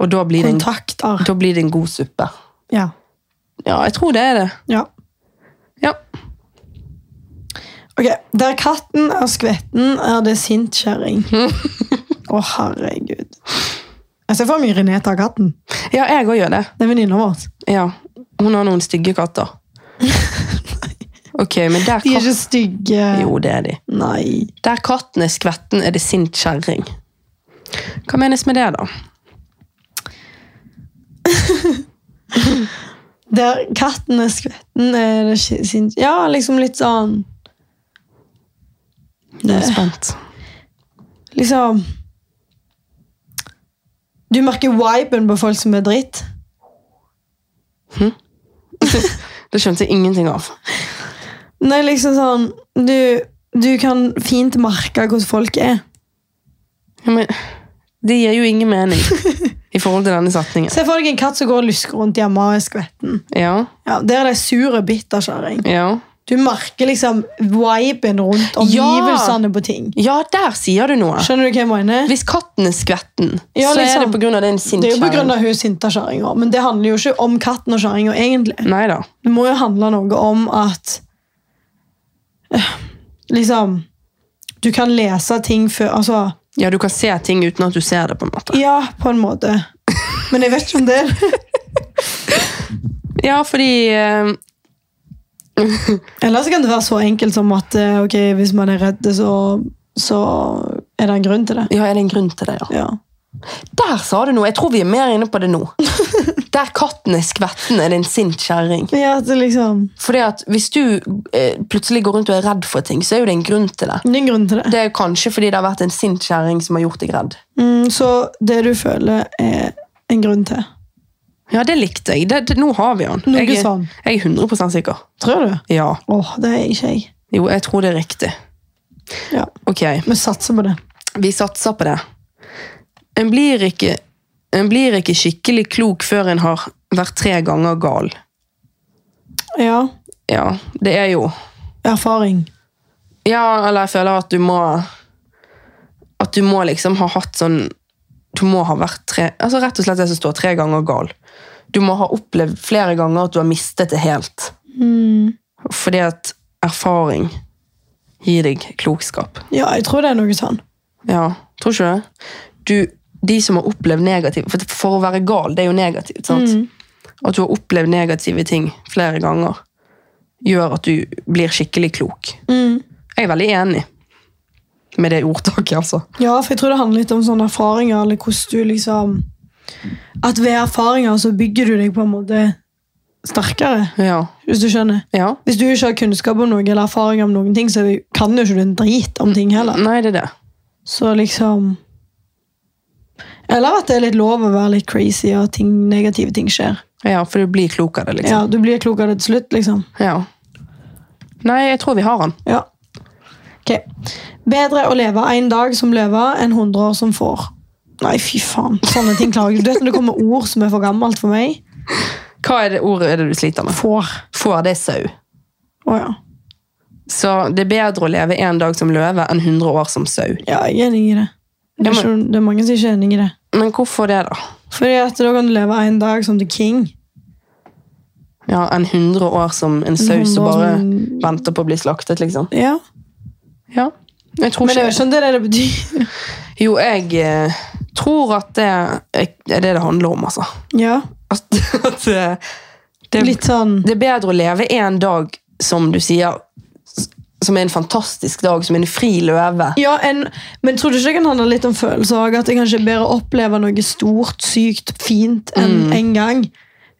Speaker 1: Og da blir, det en,
Speaker 2: Kontakter.
Speaker 1: da blir det en god suppe.
Speaker 2: Ja.
Speaker 1: Ja, jeg tror det er det.
Speaker 2: ja.
Speaker 1: Ja.
Speaker 2: Ok, Der katten er skvetten, er det sint kjerring. Å, herregud. Jeg ser for meg René tar katten.
Speaker 1: Ja, jeg òg gjør det.
Speaker 2: Det er venninna vår.
Speaker 1: Ja. Hun har noen stygge katter. Ok, men der
Speaker 2: De er
Speaker 1: katten
Speaker 2: ikke stygge.
Speaker 1: Jo, det er de.
Speaker 2: Nei.
Speaker 1: Der katten er skvetten, er det sint kjerring. Hva menes med det, da?
Speaker 2: Der katten er skvetten, er det ikke sint Ja, liksom litt sånn
Speaker 1: Nå er jeg spent.
Speaker 2: Liksom Du merker viben på folk som er dritt.
Speaker 1: Det skjønte jeg ingenting av.
Speaker 2: Nei, liksom sånn Du, du kan fint merke hvordan folk er.
Speaker 1: Ja, men, det gir jo ingen mening i forhold til denne setningen.
Speaker 2: Se for deg en katt som går og lusker rundt hjemme og er skvetten.
Speaker 1: Ja,
Speaker 2: Ja, Der er de sure bitterkjerring.
Speaker 1: ja.
Speaker 2: Du merker liksom viben rundt omgivelsene på ting.
Speaker 1: ja, der sier du noe!
Speaker 2: Skjønner du hva jeg mener?
Speaker 1: Hvis katten er skvetten,
Speaker 2: Ja,
Speaker 1: så er
Speaker 2: liksom.
Speaker 1: det på grunn av det en sint
Speaker 2: Det er jo på grunn
Speaker 1: kjerring.
Speaker 2: av hun sinte kjerringa, men det handler jo ikke om katten og kjerringa egentlig.
Speaker 1: Nei da.
Speaker 2: Det må jo handle noe om at eh, Liksom Du kan lese ting før Altså
Speaker 1: Ja, du kan se ting uten at du ser det, på en måte.
Speaker 2: Ja, på en måte. Men jeg vet ikke om det er
Speaker 1: Ja, fordi eh,
Speaker 2: Eller så kan det være så enkelt som at eh, ok, hvis man er redd, så, så er det en grunn til det.
Speaker 1: Ja, er det en grunn til det, ja.
Speaker 2: Ja.
Speaker 1: Der sa du noe! Jeg tror vi er mer inne på det nå. Der katten er skvetten, er det en sint kjerring.
Speaker 2: ja at det liksom
Speaker 1: Fordi at hvis du eh, plutselig går rundt og er redd for ting, så er jo det en grunn til det.
Speaker 2: Det er en grunn til det.
Speaker 1: Det er kanskje fordi det har vært en sint kjerring som har gjort deg redd.
Speaker 2: Mm, så det du føler, er en grunn til.
Speaker 1: Ja, det likte jeg. Det, det, nå har vi han.
Speaker 2: Noe
Speaker 1: Jeg, er-
Speaker 2: sånn.
Speaker 1: jeg er 100 sikker.
Speaker 2: Tror du?
Speaker 1: Ja.
Speaker 2: Åh, det er ikke jeg.
Speaker 1: Jo, jeg tror det er riktig.
Speaker 2: Ja,
Speaker 1: Ok,
Speaker 2: Vi satser på det.
Speaker 1: vi satser på det. En blir ikke, en blir ikke skikkelig klok før en har vært tre ganger gal.
Speaker 2: Ja.
Speaker 1: Ja, det er jo
Speaker 2: Erfaring.
Speaker 1: Ja, eller jeg føler at du må At du må liksom ha hatt sånn Du må ha vært tre Altså rett og slett det som står tre ganger gal. Du må ha opplevd flere ganger at du har mistet det helt. Fordi at erfaring gir deg klokskap.
Speaker 2: Ja, jeg tror det er noe sånn.
Speaker 1: Ja, tror ikke du det? Du, de som har opplevd negative for, for å være gal, det er jo negativt, sant? At du har opplevd negative ting flere ganger, gjør at du blir skikkelig klok.
Speaker 2: Mm.
Speaker 1: Jeg er veldig enig med det ordtaket, altså.
Speaker 2: Ja, for jeg tror det handler litt om sånne erfaringer, eller hvordan du liksom At ved erfaringer så bygger du deg på en måte sterkere,
Speaker 1: Ja.
Speaker 2: hvis du skjønner.
Speaker 1: ja.
Speaker 2: Hvis du ikke har kunnskap om noe eller erfaring om noen ting, så kan jo ikke du en drit om ting heller.
Speaker 1: Nei, det er det.
Speaker 2: Så liksom Eller at det er litt lov å være litt crazy og at ting, negative ting skjer.
Speaker 1: Ja, for du blir klok av det, liksom.
Speaker 2: Ja, Du blir klok av det til slutt, liksom.
Speaker 1: Ja. Nei, jeg tror vi har den.
Speaker 2: Ja. Ok. Bedre å leve en dag som løve enn 100 år som får. Nei, fy faen. Sånne ting klarer jeg ikke. Du vet når det kommer ord som er for gammelt for meg?
Speaker 1: Hva er det ordet er det du sliter med?
Speaker 2: Får.
Speaker 1: Får det sau.
Speaker 2: Å ja.
Speaker 1: Så det er bedre å leve en dag som løve enn 100 år som sau.
Speaker 2: Ja, jeg er enig i det. Det
Speaker 1: Ja,
Speaker 2: er,
Speaker 1: men-
Speaker 2: ikke, det er mange som ikke er enig i det.
Speaker 1: Men hvorfor det, da?
Speaker 2: Fordi at da kan du leve en dag som the king.
Speaker 1: Ja, Enn 100 år som en sau som
Speaker 2: 100 år
Speaker 1: bare
Speaker 2: som-
Speaker 1: venter på å bli slaktet, liksom?
Speaker 2: Ja.
Speaker 1: Ja. Jeg tror
Speaker 2: Men jeg
Speaker 1: ikke
Speaker 2: vet ikke om det er det det betyr.
Speaker 1: Jo, jeg eh, tror at det er det det handler om, altså.
Speaker 2: Ja.
Speaker 1: At, at eh, det,
Speaker 2: Litt sånn
Speaker 1: det er bedre å leve en dag, som du sier, s- som er en fantastisk dag, som en fri løve.
Speaker 2: Ja, en, men tror du ikke det kan handle litt om følelser òg? At det kanskje er bedre å oppleve noe stort, sykt, fint enn en gang,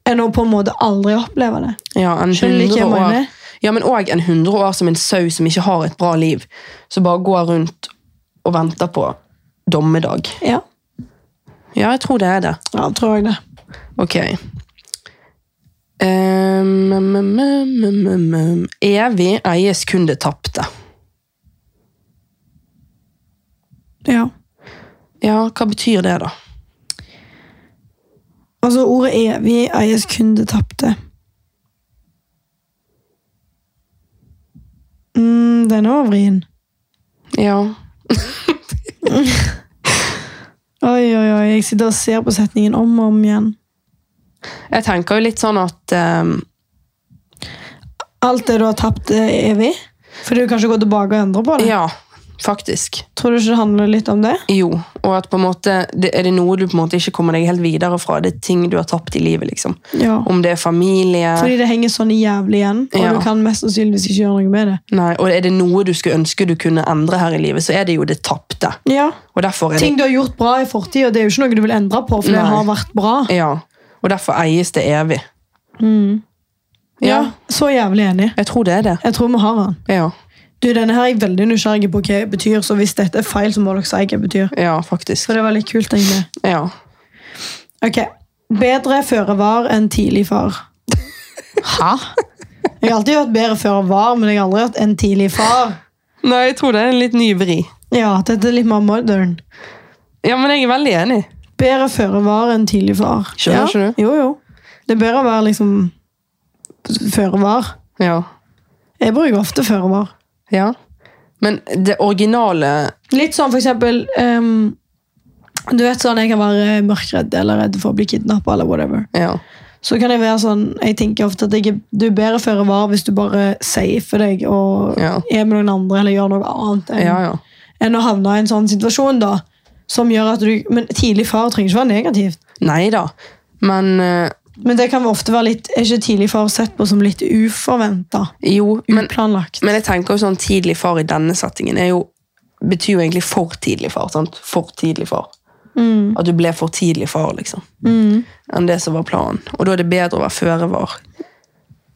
Speaker 2: enn å på en måte aldri oppleve det.
Speaker 1: Ja, en
Speaker 2: Skjønner du ikke
Speaker 1: 100
Speaker 2: hva jeg
Speaker 1: år,
Speaker 2: mener?
Speaker 1: ja, men òg en 100 år som en sau som ikke har et bra liv. Som bare går rundt og venter på dommedag.
Speaker 2: Ja,
Speaker 1: Ja, jeg tror det er det.
Speaker 2: ja tror jeg det.
Speaker 1: Ok. Ehm, mm, mm, mm, mm, mm. Evig eies kun det tapte.
Speaker 2: Ja.
Speaker 1: Ja, hva betyr det, da?
Speaker 2: Altså, ordet evig eies kun det tapte. Mm, den var vrien.
Speaker 1: Ja.
Speaker 2: Oi, oi, oi. Jeg sitter og ser på setningen om og om igjen.
Speaker 1: Jeg tenker jo litt sånn at ehm,
Speaker 2: Alt det du har tapt, er evig? For du kan ikke gå tilbake og endre på det?
Speaker 1: Ja, faktisk.
Speaker 2: Tror du ikke det handler litt om det?
Speaker 1: Jo. Og at på en måte det, er det noe du på en måte ikke kommer deg helt videre fra. Det er ting du har tapt i livet, liksom.
Speaker 2: Ja.
Speaker 1: Om det er familie
Speaker 2: Fordi det henger sånn jævlig igjen, og
Speaker 1: Ja.
Speaker 2: du kan mest sannsynligvis ikke gjøre noe med det.
Speaker 1: Nei, Og er det noe du skulle ønske du kunne endre her i livet, så er det jo det tapte.
Speaker 2: Ja.
Speaker 1: Og derfor er det
Speaker 2: Ting du har gjort bra i fortida, det er jo ikke noe du vil endre på, for det
Speaker 1: Nei.
Speaker 2: har vært bra.
Speaker 1: Ja. Og derfor eies det evig.
Speaker 2: Ja,
Speaker 1: Ja.
Speaker 2: Så jævlig enig.
Speaker 1: Jeg tror det er det.
Speaker 2: Jeg tror vi har den.
Speaker 1: Ja.
Speaker 2: Du, Denne her er jeg veldig nysgjerrig på hva det betyr, så hvis dette er feil, så må dere si hva det betyr.
Speaker 1: Ja, faktisk.
Speaker 2: For det var litt kult, egentlig.
Speaker 1: Ja.
Speaker 2: Ok. Bedre føre var enn tidlig far. Hæ? Jeg har alltid hørt bedre føre var, men jeg har aldri hørt en tidlig far.
Speaker 1: Nei, jeg tror det er en litt ny vri.
Speaker 2: Ja, dette er litt mer modern.
Speaker 1: Ja, men jeg er veldig enig.
Speaker 2: Bedre føre var enn tidlig far.
Speaker 1: Skjønner
Speaker 2: ja.
Speaker 1: ikke du?
Speaker 2: Jo, jo. Det er bedre å være liksom føre var.
Speaker 1: Ja.
Speaker 2: Jeg bruker ofte føre var.
Speaker 1: ja. Men det originale
Speaker 2: Litt sånn for eksempel ehm, Du vet sånn, jeg kan være mørkredd eller redd for å bli kidnappa eller whatever.
Speaker 1: Ja.
Speaker 2: Så kan jeg være sånn, jeg tenker ofte at jeg, er- du er bedre føre var hvis du bare safer deg og
Speaker 1: Ja.
Speaker 2: er med noen andre eller gjør noe annet enn,
Speaker 1: ja, ja.
Speaker 2: enn å havne i en sånn situasjon da. Som gjør at du, men tidlig far trenger ikke være negativt.
Speaker 1: Nei da. Men eh,
Speaker 2: Men det kan ofte være litt, er ikke tidlig far sett på som litt uforventet?
Speaker 1: Jo, men,
Speaker 2: Uplanlagt.
Speaker 1: men jeg tenker jo sånn tidlig far i denne settingen er jo, betyr jo egentlig for tidlig far. sant? For tidlig far.
Speaker 2: Mm.
Speaker 1: At du ble for tidlig far, liksom.
Speaker 2: Mm.
Speaker 1: Enn det som var planen. Og da er det bedre å være føre var.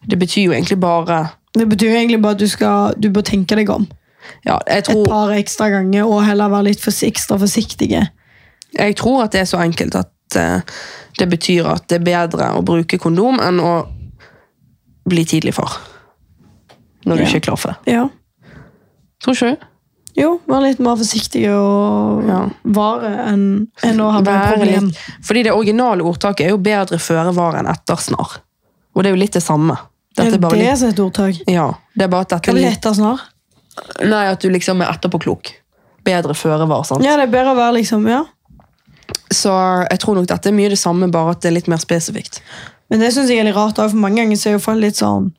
Speaker 1: Det betyr jo egentlig bare
Speaker 2: Det betyr jo egentlig bare at du, skal, du bør tenke deg om
Speaker 1: Ja, jeg
Speaker 2: et
Speaker 1: tror,
Speaker 2: par ekstra ganger og heller være litt forsi- ekstra forsiktige.
Speaker 1: jeg tror at det er så enkelt at eh, det betyr at det er bedre å bruke kondom enn å bli tidlig far. Når du
Speaker 2: Ja.
Speaker 1: ikke er klar for det.
Speaker 2: Ja.
Speaker 1: Tror ikke du?
Speaker 2: Jo, være litt mer forsiktige og
Speaker 1: Ja.
Speaker 2: vare enn enn å ha et
Speaker 1: Være
Speaker 2: problem.
Speaker 1: litt- Fordi det originale ordtaket er jo bedre føre var enn etter snar. Og det er jo litt det samme. Dette
Speaker 2: Er
Speaker 1: er bare
Speaker 2: det
Speaker 1: litt,
Speaker 2: som er et ordtak?
Speaker 1: ja, det er bare at dette
Speaker 2: Hva
Speaker 1: er
Speaker 2: vil det
Speaker 1: litt,
Speaker 2: hete snart?
Speaker 1: Nei, at du liksom er etterpåklok. Bedre føre var, sant.
Speaker 2: Ja, det er bedre å være liksom, ja.
Speaker 1: Så jeg tror nok dette er mye det samme, bare at det er litt mer spesifikt.
Speaker 2: Men det synes jeg er litt rart, da, for mange ganger så er jo folk litt sånn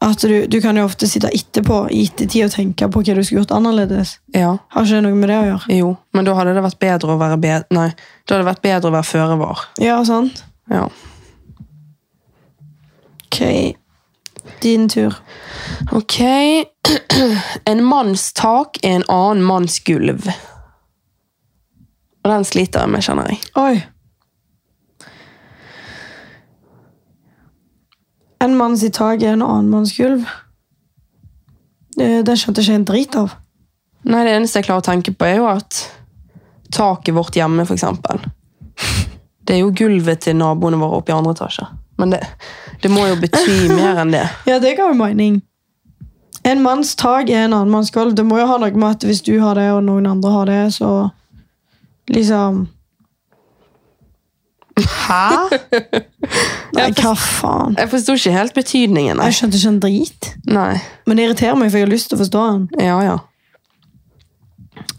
Speaker 2: at du, du kan jo ofte sitte etterpå i ettertid og tenke på hva du skulle gjort annerledes.
Speaker 1: Ja,
Speaker 2: Har ikke det noe med det å gjøre?
Speaker 1: jo. Men da hadde det vært bedre å være bedre Nei, da hadde det vært bedre å være føre var.
Speaker 2: Ja, sant?
Speaker 1: Ja.
Speaker 2: Ok. Din tur.
Speaker 1: Ok. En manns tak er en annen manns gulv. Og den sliter jeg med, kjenner jeg.
Speaker 2: Oi. En mann sitt tak er en annen manns gulv. Det, det skjønte jeg ikke en drit av.
Speaker 1: Nei, det eneste jeg klarer å tenke på er jo at taket vårt hjemme, for eksempel, Det er jo gulvet til naboene våre oppe i andre etasje. Men det, det må jo bety mer enn det.
Speaker 2: Ja, det ga jo mening. En manns tak er en annen manns gulv. Det må jo ha noe med at hvis du har det, og noen andre har det, så liksom
Speaker 1: Hæ?
Speaker 2: Nei, hva faen?
Speaker 1: Jeg forsto ikke helt betydningen. Nei.
Speaker 2: Jeg skjønte ikke en drit.
Speaker 1: nei.
Speaker 2: Men det irriterer meg, for jeg har lyst til å forstå den.
Speaker 1: Ja, ja.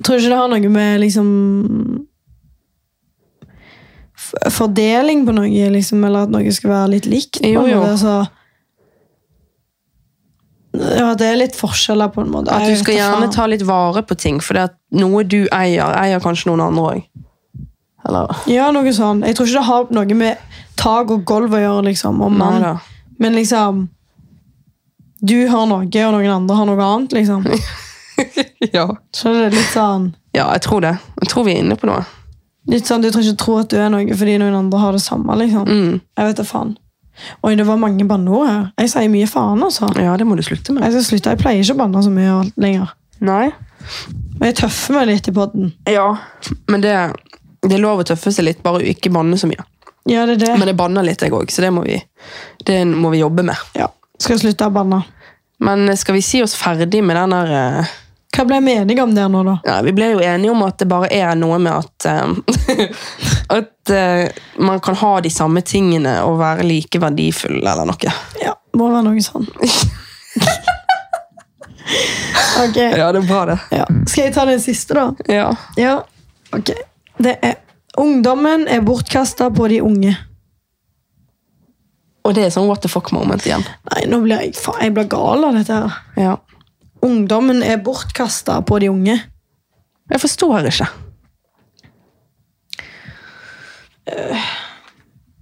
Speaker 2: Tror ikke det har noe med liksom f- Fordeling på noe, liksom, eller at noe skal være litt likt. på en
Speaker 1: Jo,
Speaker 2: måte,
Speaker 1: jo.
Speaker 2: altså. ja, det er litt forskjeller, på en måte.
Speaker 1: At du
Speaker 2: Jeg vet
Speaker 1: skal
Speaker 2: da
Speaker 1: gjerne
Speaker 2: faen.
Speaker 1: ta litt vare på ting, for det at noe du eier, eier kanskje noen andre òg. Eller
Speaker 2: Ja, noe sånn. Jeg tror ikke det har noe med tak og gulv å gjøre, liksom. Og
Speaker 1: Nei
Speaker 2: mann.
Speaker 1: da.
Speaker 2: Men liksom Du har noe, og noen andre har noe annet, liksom.
Speaker 1: Ja.
Speaker 2: Så det er litt sånn
Speaker 1: ja, jeg tror det. Jeg tror vi er inne på noe.
Speaker 2: Litt sånn, Du trenger ikke tro at du er noe fordi noen andre har det samme. liksom.
Speaker 1: Mm.
Speaker 2: Jeg vet da faen. Oi, det var mange banneord her. Jeg sier mye faen, altså.
Speaker 1: Ja, det må du slutte med.
Speaker 2: Jeg skal slutte, jeg pleier ikke å banne så mye og alt lenger.
Speaker 1: Nei.
Speaker 2: Men jeg tøffer meg litt i podden.
Speaker 1: Ja. Men det, det er lov å tøffe seg litt, bare ikke banne så mye.
Speaker 2: Ja, det er det.
Speaker 1: Men jeg banner litt, jeg òg, så det må, vi, det må vi jobbe med.
Speaker 2: Ja. Skal jeg slutte å banne.
Speaker 1: Men skal vi si oss ferdig med den der eh,
Speaker 2: Hva ble vi enige om der nå, da?
Speaker 1: Nei, vi ble jo enige om at det bare er noe med at eh, At eh, man kan ha de samme tingene og være like verdifull eller noe.
Speaker 2: Ja, Må være noe sånn. ok.
Speaker 1: Ja, det er bra, det.
Speaker 2: Ja. Skal jeg ta den siste, da?
Speaker 1: Ja.
Speaker 2: Ja, ok. Det er Ungdommen er bortkasta på de unge.
Speaker 1: Og det er sånn what the fuck-moment igjen.
Speaker 2: Nei, nå blir jeg, faen, jeg blir gal av dette. her.
Speaker 1: Ja.
Speaker 2: Ungdommen er bortkasta på de unge.
Speaker 1: Jeg forstår ikke.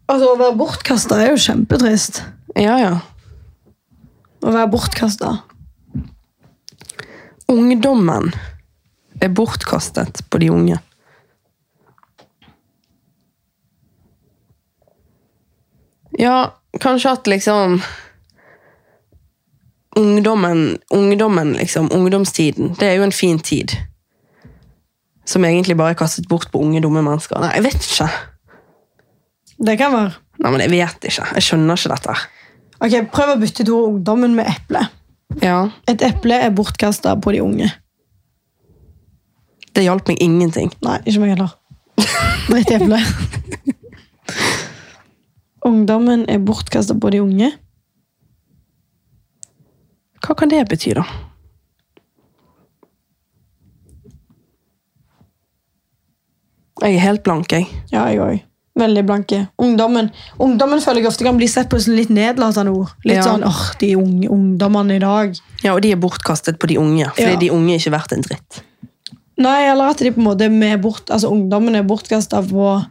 Speaker 2: Altså, Å være bortkasta er jo kjempetrist.
Speaker 1: Ja, ja.
Speaker 2: Å være bortkasta.
Speaker 1: Ungdommen er bortkastet på de unge. Ja, kanskje at liksom Ungdommen, ungdommen liksom, ungdomstiden, det er jo en fin tid. Som egentlig bare er kastet bort på unge, dumme mennesker. Nei, jeg vet ikke.
Speaker 2: Det kan være.
Speaker 1: Nei, men jeg vet ikke. Jeg skjønner ikke dette. her.
Speaker 2: Ok, Prøv å bytte ut ordet ungdommen med eple.
Speaker 1: Ja,
Speaker 2: Et eple er bortkasta på de unge.
Speaker 1: Det hjalp meg ingenting.
Speaker 2: Nei, ikke meg heller. Dritt i eple. Ungdommen er bortkasta på de unge.
Speaker 1: Hva kan det bety, da? Jeg er helt blank, jeg.
Speaker 2: Ja, jeg òg. Veldig blanke. Ungdommen Ungdommen føler jeg ofte kan bli sett på som litt nedlatende ord. Litt
Speaker 1: Ja.
Speaker 2: sånn, åh, de unge ungdommene i dag.
Speaker 1: Ja, Og de er bortkastet på de unge, fordi
Speaker 2: Ja.
Speaker 1: de unge er ikke verdt en dritt.
Speaker 2: Nei, eller at de på en måte er med bort, altså ungdommen er bortkasta på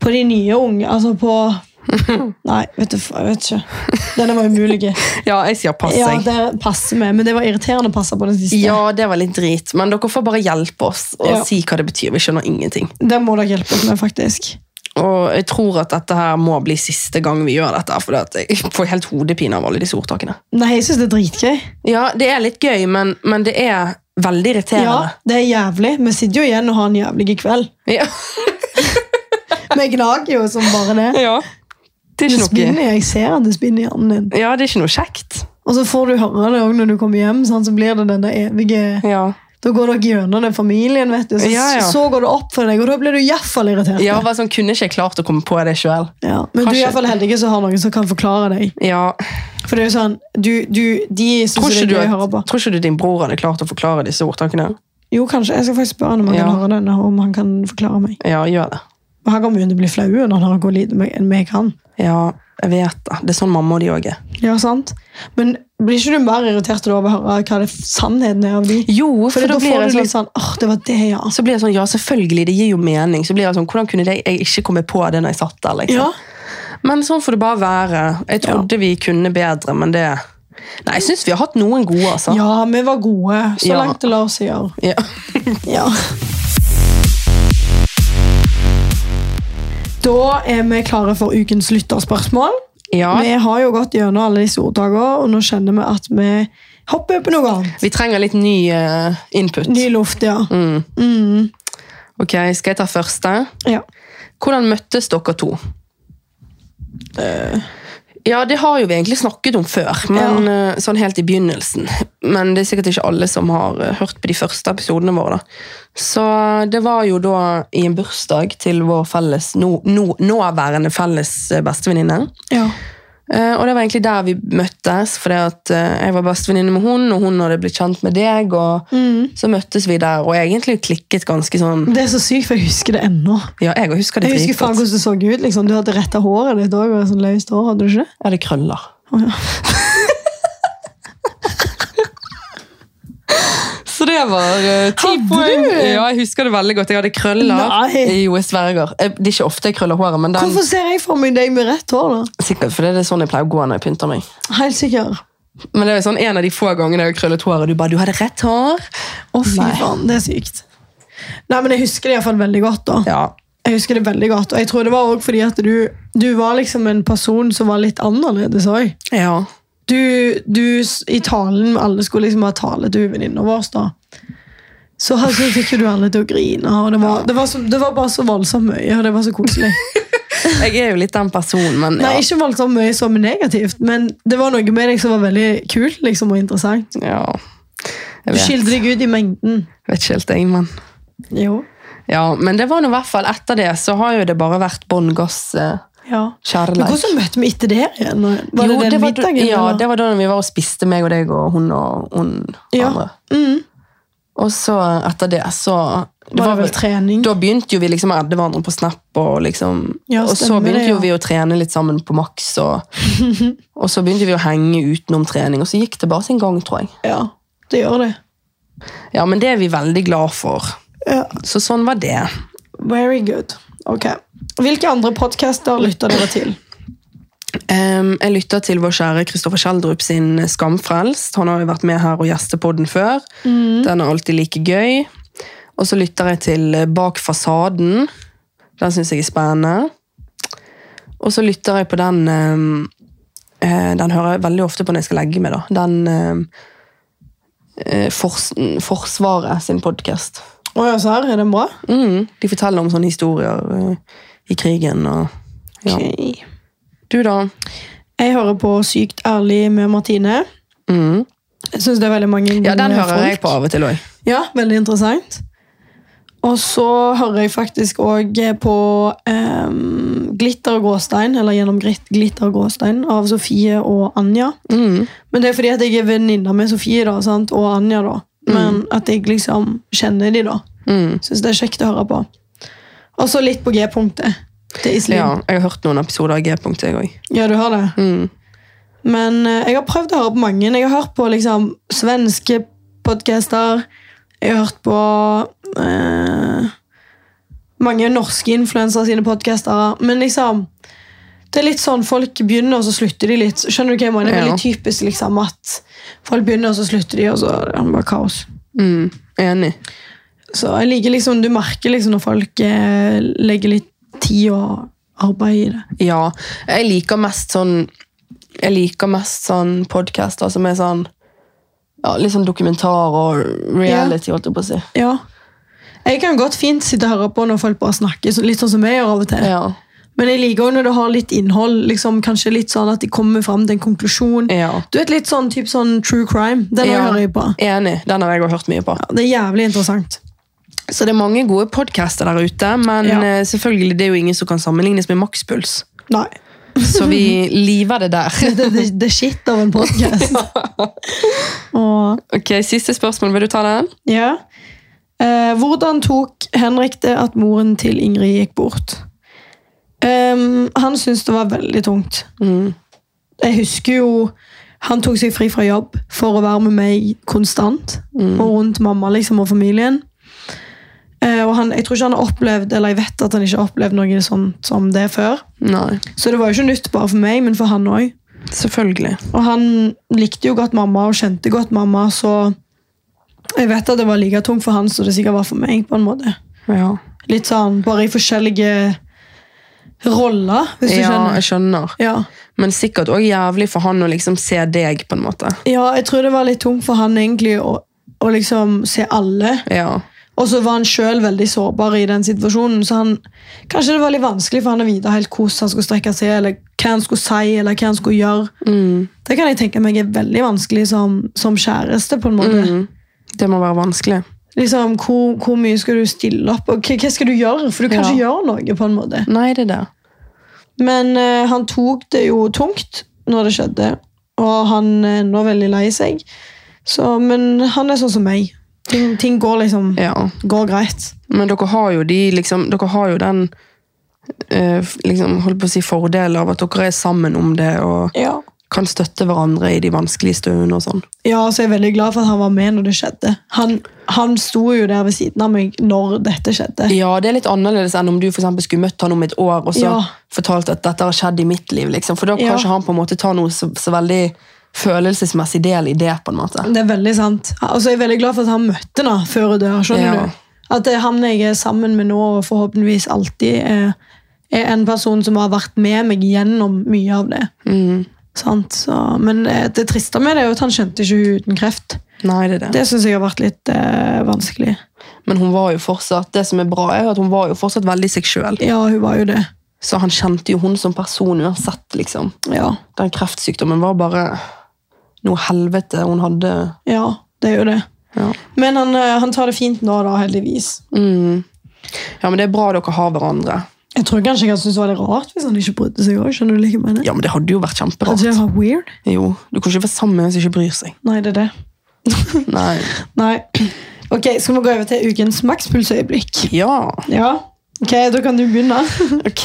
Speaker 2: På de nye unge, altså på Nei, vet du, fa- jeg vet ikke. Denne var umulig.
Speaker 1: Ja, jeg sier pass,
Speaker 2: Ja,
Speaker 1: jeg.
Speaker 2: det passer med, men det var irriterende å passe på den siste.
Speaker 1: Ja, det var litt drit, men dere får bare hjelpe oss og
Speaker 2: Ja.
Speaker 1: si hva det betyr. Vi skjønner ingenting.
Speaker 2: Det må dere hjelpe oss med, faktisk.
Speaker 1: Og jeg tror at dette her må bli siste gang vi gjør dette, for jeg får helt hodepine av alle disse ordtakene.
Speaker 2: Nei, jeg syns det er dritgøy.
Speaker 1: Ja, det er litt gøy, men, men det er veldig
Speaker 2: Ja,
Speaker 1: irriterende.
Speaker 2: det er jævlig. Vi sitter jo igjen og har en jævlig kveld.
Speaker 1: Ja.
Speaker 2: Vi gnager jo som bare det.
Speaker 1: ja. Det er
Speaker 2: Det
Speaker 1: ikke noe
Speaker 2: spinner, jeg ser at det spinner i hjernen din.
Speaker 1: Ja, det er ikke noe kjekt.
Speaker 2: Og så får du høre det også når du kommer hjem, sant? så blir det den der evige
Speaker 1: Ja.
Speaker 2: Da går dere gjennom den familien, vet du. Så,
Speaker 1: Ja, ja.
Speaker 2: så går det opp for deg, og da blir du iallfall irritert.
Speaker 1: Ja, bare sånn, kunne ikke jeg klart å komme på det sjøl.
Speaker 2: Ja. Men
Speaker 1: Kanskje-
Speaker 2: du er iallfall heldig som har noen som kan forklare deg.
Speaker 1: Ja.
Speaker 2: For det er jo sånn, du, du, de
Speaker 1: Tror
Speaker 2: syns
Speaker 1: ikke,
Speaker 2: det er
Speaker 1: du
Speaker 2: gøy å høre på.
Speaker 1: at, tror ikke du din bror hadde klart å forklare disse ordtakene?
Speaker 2: Jo, kanskje. Jeg skal faktisk spørre han om han
Speaker 1: Ja.
Speaker 2: kan høre den, og om han kan forklare meg.
Speaker 1: Ja, gjør det.
Speaker 2: Men Han kommer jo til å bli flau når han hører hvor lite meg- enn meg kan.
Speaker 1: Ja, jeg vet det. Det er sånn mamma og de òg er.
Speaker 2: Ja, sant? Men blir ikke du mer irritert da av å høre hva det sannheten er av de?
Speaker 1: Jo,
Speaker 2: For, da får du litt sånn åh, det var det, ja. altså.»
Speaker 1: så blir jeg sånn, ja, selvfølgelig, det gir jo mening. Så blir jeg sånn, Hvordan kunne det, jeg ikke komme på det når jeg satt der? liksom?
Speaker 2: ja.
Speaker 1: Men sånn får det bare være. Jeg trodde vi kunne bedre, men det Nei, jeg syns vi har hatt noen gode, altså.
Speaker 2: Ja, vi var gode, så
Speaker 1: Ja.
Speaker 2: langt det lar seg gjøre.
Speaker 1: Ja.
Speaker 2: Da er vi klare for ukens lytterspørsmål.
Speaker 1: Ja.
Speaker 2: Vi har jo gått gjennom alle disse ordtakene, og nå kjenner vi at vi hopper på noe annet.
Speaker 1: Vi trenger litt ny eh, input. Mm.
Speaker 2: Ny luft, ja.
Speaker 1: Ok, Skal jeg ta første?
Speaker 2: ja.
Speaker 1: Hvordan møttes dere to? Eh, Ja, det har jo vi egentlig snakket om før, men eh, sånn helt i begynnelsen. Men det er sikkert ikke alle som har eh, hørt på de første episodene våre. da. Så eh, det var jo da i en bursdag til vår felles, nå, nå, nåværende felles eh, bestevenninne.
Speaker 2: Ja.
Speaker 1: Eh, og det var egentlig der vi møttes, fordi at eh, jeg var bestevenninne med hun, og hun hadde blitt kjent med deg, og så møttes vi der, og egentlig klikket ganske sånn,
Speaker 2: Det er så sykt, for jeg husker det ennå.
Speaker 1: ja, jeg også husker det
Speaker 2: Jeg husker faen
Speaker 1: dritgodt.
Speaker 2: hvordan det så ut. Liksom. Du hadde retta håret ditt òg. Sånn løst hår, hadde du ikke det?
Speaker 1: Jeg hadde krøller.
Speaker 2: Å, ja.
Speaker 1: Så det var eh, ti
Speaker 2: Hadde
Speaker 1: poeng.
Speaker 2: du?
Speaker 1: Ja, jeg husker det veldig godt. Jeg hadde krøller.
Speaker 2: Nei.
Speaker 1: Jo, jeg sverger. Eh, Det er ikke ofte jeg krøller håret, men den,
Speaker 2: Hvorfor ser jeg for meg deg med rett hår, da?
Speaker 1: sikkert fordi det er sånn jeg pleier å gå når jeg pynter meg.
Speaker 2: Helt sikker.
Speaker 1: Men det er jo sånn en av de få gangene jeg har krøllet håret, du bare, du hadde rett hår. Å,
Speaker 2: Fy
Speaker 1: fy faen.
Speaker 2: faen, det er sykt. Nei, men jeg husker det iallfall veldig godt, da.
Speaker 1: Ja.
Speaker 2: Jeg husker det veldig godt, og jeg tror det var også fordi at du, du var liksom en person som var litt annerledes òg.
Speaker 1: Ja.
Speaker 2: du, du s- i talen alle skulle liksom ha tale til venninna vår, da. Så altså, fikk jo du alle til å grine, og det var, det var, så, det var bare så voldsomt mye, og det var så koselig.
Speaker 1: Jeg er jo litt den personen, men ja.
Speaker 2: Nei, ikke voldsomt mye som negativt, men det var noe med deg som var veldig kult liksom, og interessant.
Speaker 1: ja. Jeg
Speaker 2: Du
Speaker 1: vet,
Speaker 2: skilte deg ut i mengden.
Speaker 1: vet ikke helt, jeg, men...
Speaker 2: Jo.
Speaker 1: Ja, men det var nå i hvert fall etter det, så har jo det bare vært bånn gass eh,
Speaker 2: Ja. Men
Speaker 1: kjærleik.
Speaker 2: hvordan møtte vi etter det igjen? Var det
Speaker 1: Jo,
Speaker 2: den
Speaker 1: var, da-
Speaker 2: middagen?
Speaker 1: Ja,
Speaker 2: eller?
Speaker 1: det var da vi var og spiste, meg og deg og hun og hun
Speaker 2: Ja.
Speaker 1: andre.
Speaker 2: Mm.
Speaker 1: Og så etter det, så det
Speaker 2: var,
Speaker 1: var
Speaker 2: det vel
Speaker 1: vel-
Speaker 2: trening?
Speaker 1: Da begynte jo vi liksom å adde hverandre på Snap, og liksom
Speaker 2: Ja,
Speaker 1: Og så
Speaker 2: stemmer det,
Speaker 1: begynte jo
Speaker 2: ja.
Speaker 1: vi å trene litt sammen på Max, og, og så begynte vi å henge utenom trening, og så gikk det bare sin gang, tror jeg.
Speaker 2: Ja, det gjør det.
Speaker 1: Ja, men det er vi veldig glad for.
Speaker 2: Ja.
Speaker 1: Så sånn var det.
Speaker 2: Very good. Ok. Hvilke andre podcaster lytter dere til?
Speaker 1: Ehm, jeg lytter til vår kjære Kristoffer Kjeldrup sin Skamfrelst. Han har jo vært med her og gjestepodden før. Den er alltid like gøy. Og så lytter jeg til eh, Bak fasaden. Den syns jeg er spennende. Og så lytter jeg på den ehm, eh, Den hører jeg veldig ofte på når jeg skal legge meg. da. Den ehm, eh, fors Forsvaret sin podkast.
Speaker 2: Å ja, så her er den bra?
Speaker 1: Mm, de forteller om sånne historier eh, i krigen og ja.
Speaker 2: Ok.
Speaker 1: Du, da?
Speaker 2: Jeg hører på Sykt ærlig med Martine.
Speaker 1: Mm.
Speaker 2: Jeg synes det er veldig mange
Speaker 1: Ja, den
Speaker 2: gode
Speaker 1: hører jeg
Speaker 2: folk.
Speaker 1: på av og til òg.
Speaker 2: Ja, veldig interessant. Og så hører jeg faktisk òg på em, Glitter og gråstein, eller Gjennom grit- glitter og gråstein, av Sofie og Anja.
Speaker 1: Mm.
Speaker 2: Men det er fordi at jeg er venninne med Sofie da, sant? og Anja, da. Men at jeg liksom kjenner de da.
Speaker 1: Mm.
Speaker 2: Syns det er kjekt å høre på. Og så litt på G-punktet til Iselin.
Speaker 1: Ja,
Speaker 2: Ja.
Speaker 1: jeg har hørt noen episoder av G-punkt, jeg òg.
Speaker 2: du har det?
Speaker 1: Mm.
Speaker 2: Men eh, jeg har prøvd å høre på mange. Jeg har hørt på liksom, svenske podcaster. Jeg har hørt på eh, mange norske influensere sine podcaster. Men liksom, det er litt sånn folk begynner, og så slutter de litt. Skjønner du hva jeg mener? Det er
Speaker 1: Ja.
Speaker 2: veldig typisk liksom, at folk begynner, og så slutter de, og så er det bare kaos.
Speaker 1: Mm. Enig.
Speaker 2: Så jeg liker liksom, du merker liksom når folk eh, legger litt tid og arbeid i det.
Speaker 1: Ja. Jeg liker mest sånn Jeg liker mest sånn podcaster som er sånn ja, Litt sånn dokumentar og reality, holdt jeg på å si.
Speaker 2: Ja. Jeg kan godt fint sitte og høre på når folk bare snakker, så- litt sånn som jeg gjør av og til.
Speaker 1: Ja.
Speaker 2: Men jeg liker også når det har litt innhold, liksom, kanskje litt sånn at de kommer frem til en konklusjon.
Speaker 1: ja.
Speaker 2: Du vet litt sånn, typ sånn true crime, den
Speaker 1: Ja.
Speaker 2: hører jeg på.
Speaker 1: Enig. Den har jeg også hørt mye på.
Speaker 2: Det er jævlig interessant.
Speaker 1: Så det er mange gode podcaster der ute, men
Speaker 2: Ja.
Speaker 1: eh, selvfølgelig det er jo ingen som kan sammenlignes med makspuls.
Speaker 2: Nei,
Speaker 1: Så vi liver det der.
Speaker 2: det, det, det er shit av en podcast. Og,
Speaker 1: Ok, Siste spørsmål. Vil du ta den?
Speaker 2: ja. Eh, hvordan tok Henrik det at moren til Ingrid gikk bort? Ehm, han syntes det var veldig tungt.
Speaker 1: Mm.
Speaker 2: Jeg husker jo han tok seg fri fra jobb for å være med meg konstant.
Speaker 1: Mm.
Speaker 2: Og rundt mamma liksom, og familien. Eh, og han, jeg tror ikke han har opplevd, eller jeg vet at han ikke har opplevd noe sånt som det før.
Speaker 1: Nei.
Speaker 2: Så det var jo ikke nytt bare for meg, men for han òg.
Speaker 1: Selvfølgelig.
Speaker 2: Og han likte jo godt mamma og kjente godt mamma, så jeg vet at det var like tungt for han som det sikkert var for meg. på en måte.
Speaker 1: Ja.
Speaker 2: Litt sånn, bare i forskjellige roller, hvis du
Speaker 1: ja,
Speaker 2: skjønner.
Speaker 1: jeg skjønner.
Speaker 2: Ja.
Speaker 1: Men sikkert òg jævlig for han å liksom se deg, på en måte.
Speaker 2: ja, jeg tror det var litt tungt for han egentlig å, å liksom se alle.
Speaker 1: Ja.
Speaker 2: Og så var han sjøl veldig sårbar i den situasjonen. så han, Kanskje det var litt vanskelig for han å vite helt hvordan han skulle strekke seg, eller hva han skulle si, eller hva han skulle gjøre.
Speaker 1: Mm.
Speaker 2: Det kan jeg tenke meg er veldig vanskelig som, som kjæreste, på en måte.
Speaker 1: Mm. Det må være vanskelig.
Speaker 2: Liksom, hvor, hvor mye skal du stille opp, og hva, hva skal du gjøre? For du kan
Speaker 1: Ja.
Speaker 2: ikke gjøre noe, på en måte.
Speaker 1: Nei, det er det.
Speaker 2: Men eh, han tok det jo tungt når det skjedde, og han er nå veldig lei seg. Så, men han er sånn som meg. Ting, ting går liksom
Speaker 1: Ja.
Speaker 2: går greit.
Speaker 1: Men dere har jo, de, liksom, dere har jo den eh, f- liksom, holdt på å si fordelen av at dere er sammen om det og
Speaker 2: Ja.
Speaker 1: kan støtte hverandre i de vanskelige stundene og sånn.
Speaker 2: så jeg er veldig glad for at han var med når det skjedde. Han, han sto jo der ved siden av meg når dette skjedde.
Speaker 1: Ja, det er litt annerledes enn om du for eksempel skulle møtt han om et år og så
Speaker 2: Ja.
Speaker 1: fortalt at dette har skjedd i mitt liv. Liksom. For da kan
Speaker 2: Ja.
Speaker 1: ikke han på en måte ta noe så, så veldig følelsesmessig del i det, på en måte.
Speaker 2: Det er veldig sant. Og så er jeg veldig glad for at han møtte henne før hun dør. skjønner
Speaker 1: Ja.
Speaker 2: du? At det er han jeg er sammen med nå, og forhåpentligvis alltid, er, er en person som har vært med meg gjennom mye av det.
Speaker 1: Mm.
Speaker 2: Sant? Så, men eh, det triste med det er jo at han skjønte ikke hun uten kreft.
Speaker 1: Nei, det er det.
Speaker 2: Det syns jeg har vært litt eh, vanskelig.
Speaker 1: Men hun var jo fortsatt, det som er bra, er jo at hun var jo fortsatt veldig seg sjøl.
Speaker 2: Ja, hun var jo det.
Speaker 1: Så han kjente jo hun som person uansett, liksom.
Speaker 2: Ja,
Speaker 1: Den kreftsykdommen var bare noe helvete hun hadde.
Speaker 2: ja det er jo det.
Speaker 1: Ja.
Speaker 2: Men han, eh, han tar det fint nå, da, heldigvis.
Speaker 1: Mm. ja, men det er bra dere har hverandre.
Speaker 2: Jeg tror kanskje jeg hadde syntes det var litt rart hvis han ikke brydde seg òg. Skjønner du hva jeg mener?
Speaker 1: Ja, men det hadde jo vært
Speaker 2: At
Speaker 1: kjemperart.
Speaker 2: det var weird?
Speaker 1: Jo, du kan ikke være sammen med en som ikke bryr seg.
Speaker 2: Nei, det er det.
Speaker 1: Nei.
Speaker 2: Nei. Ok, Skal vi gå over til ukens makspulsøyeblikk?
Speaker 1: Ja.
Speaker 2: Ja. Ok, Da kan du begynne.
Speaker 1: Ok.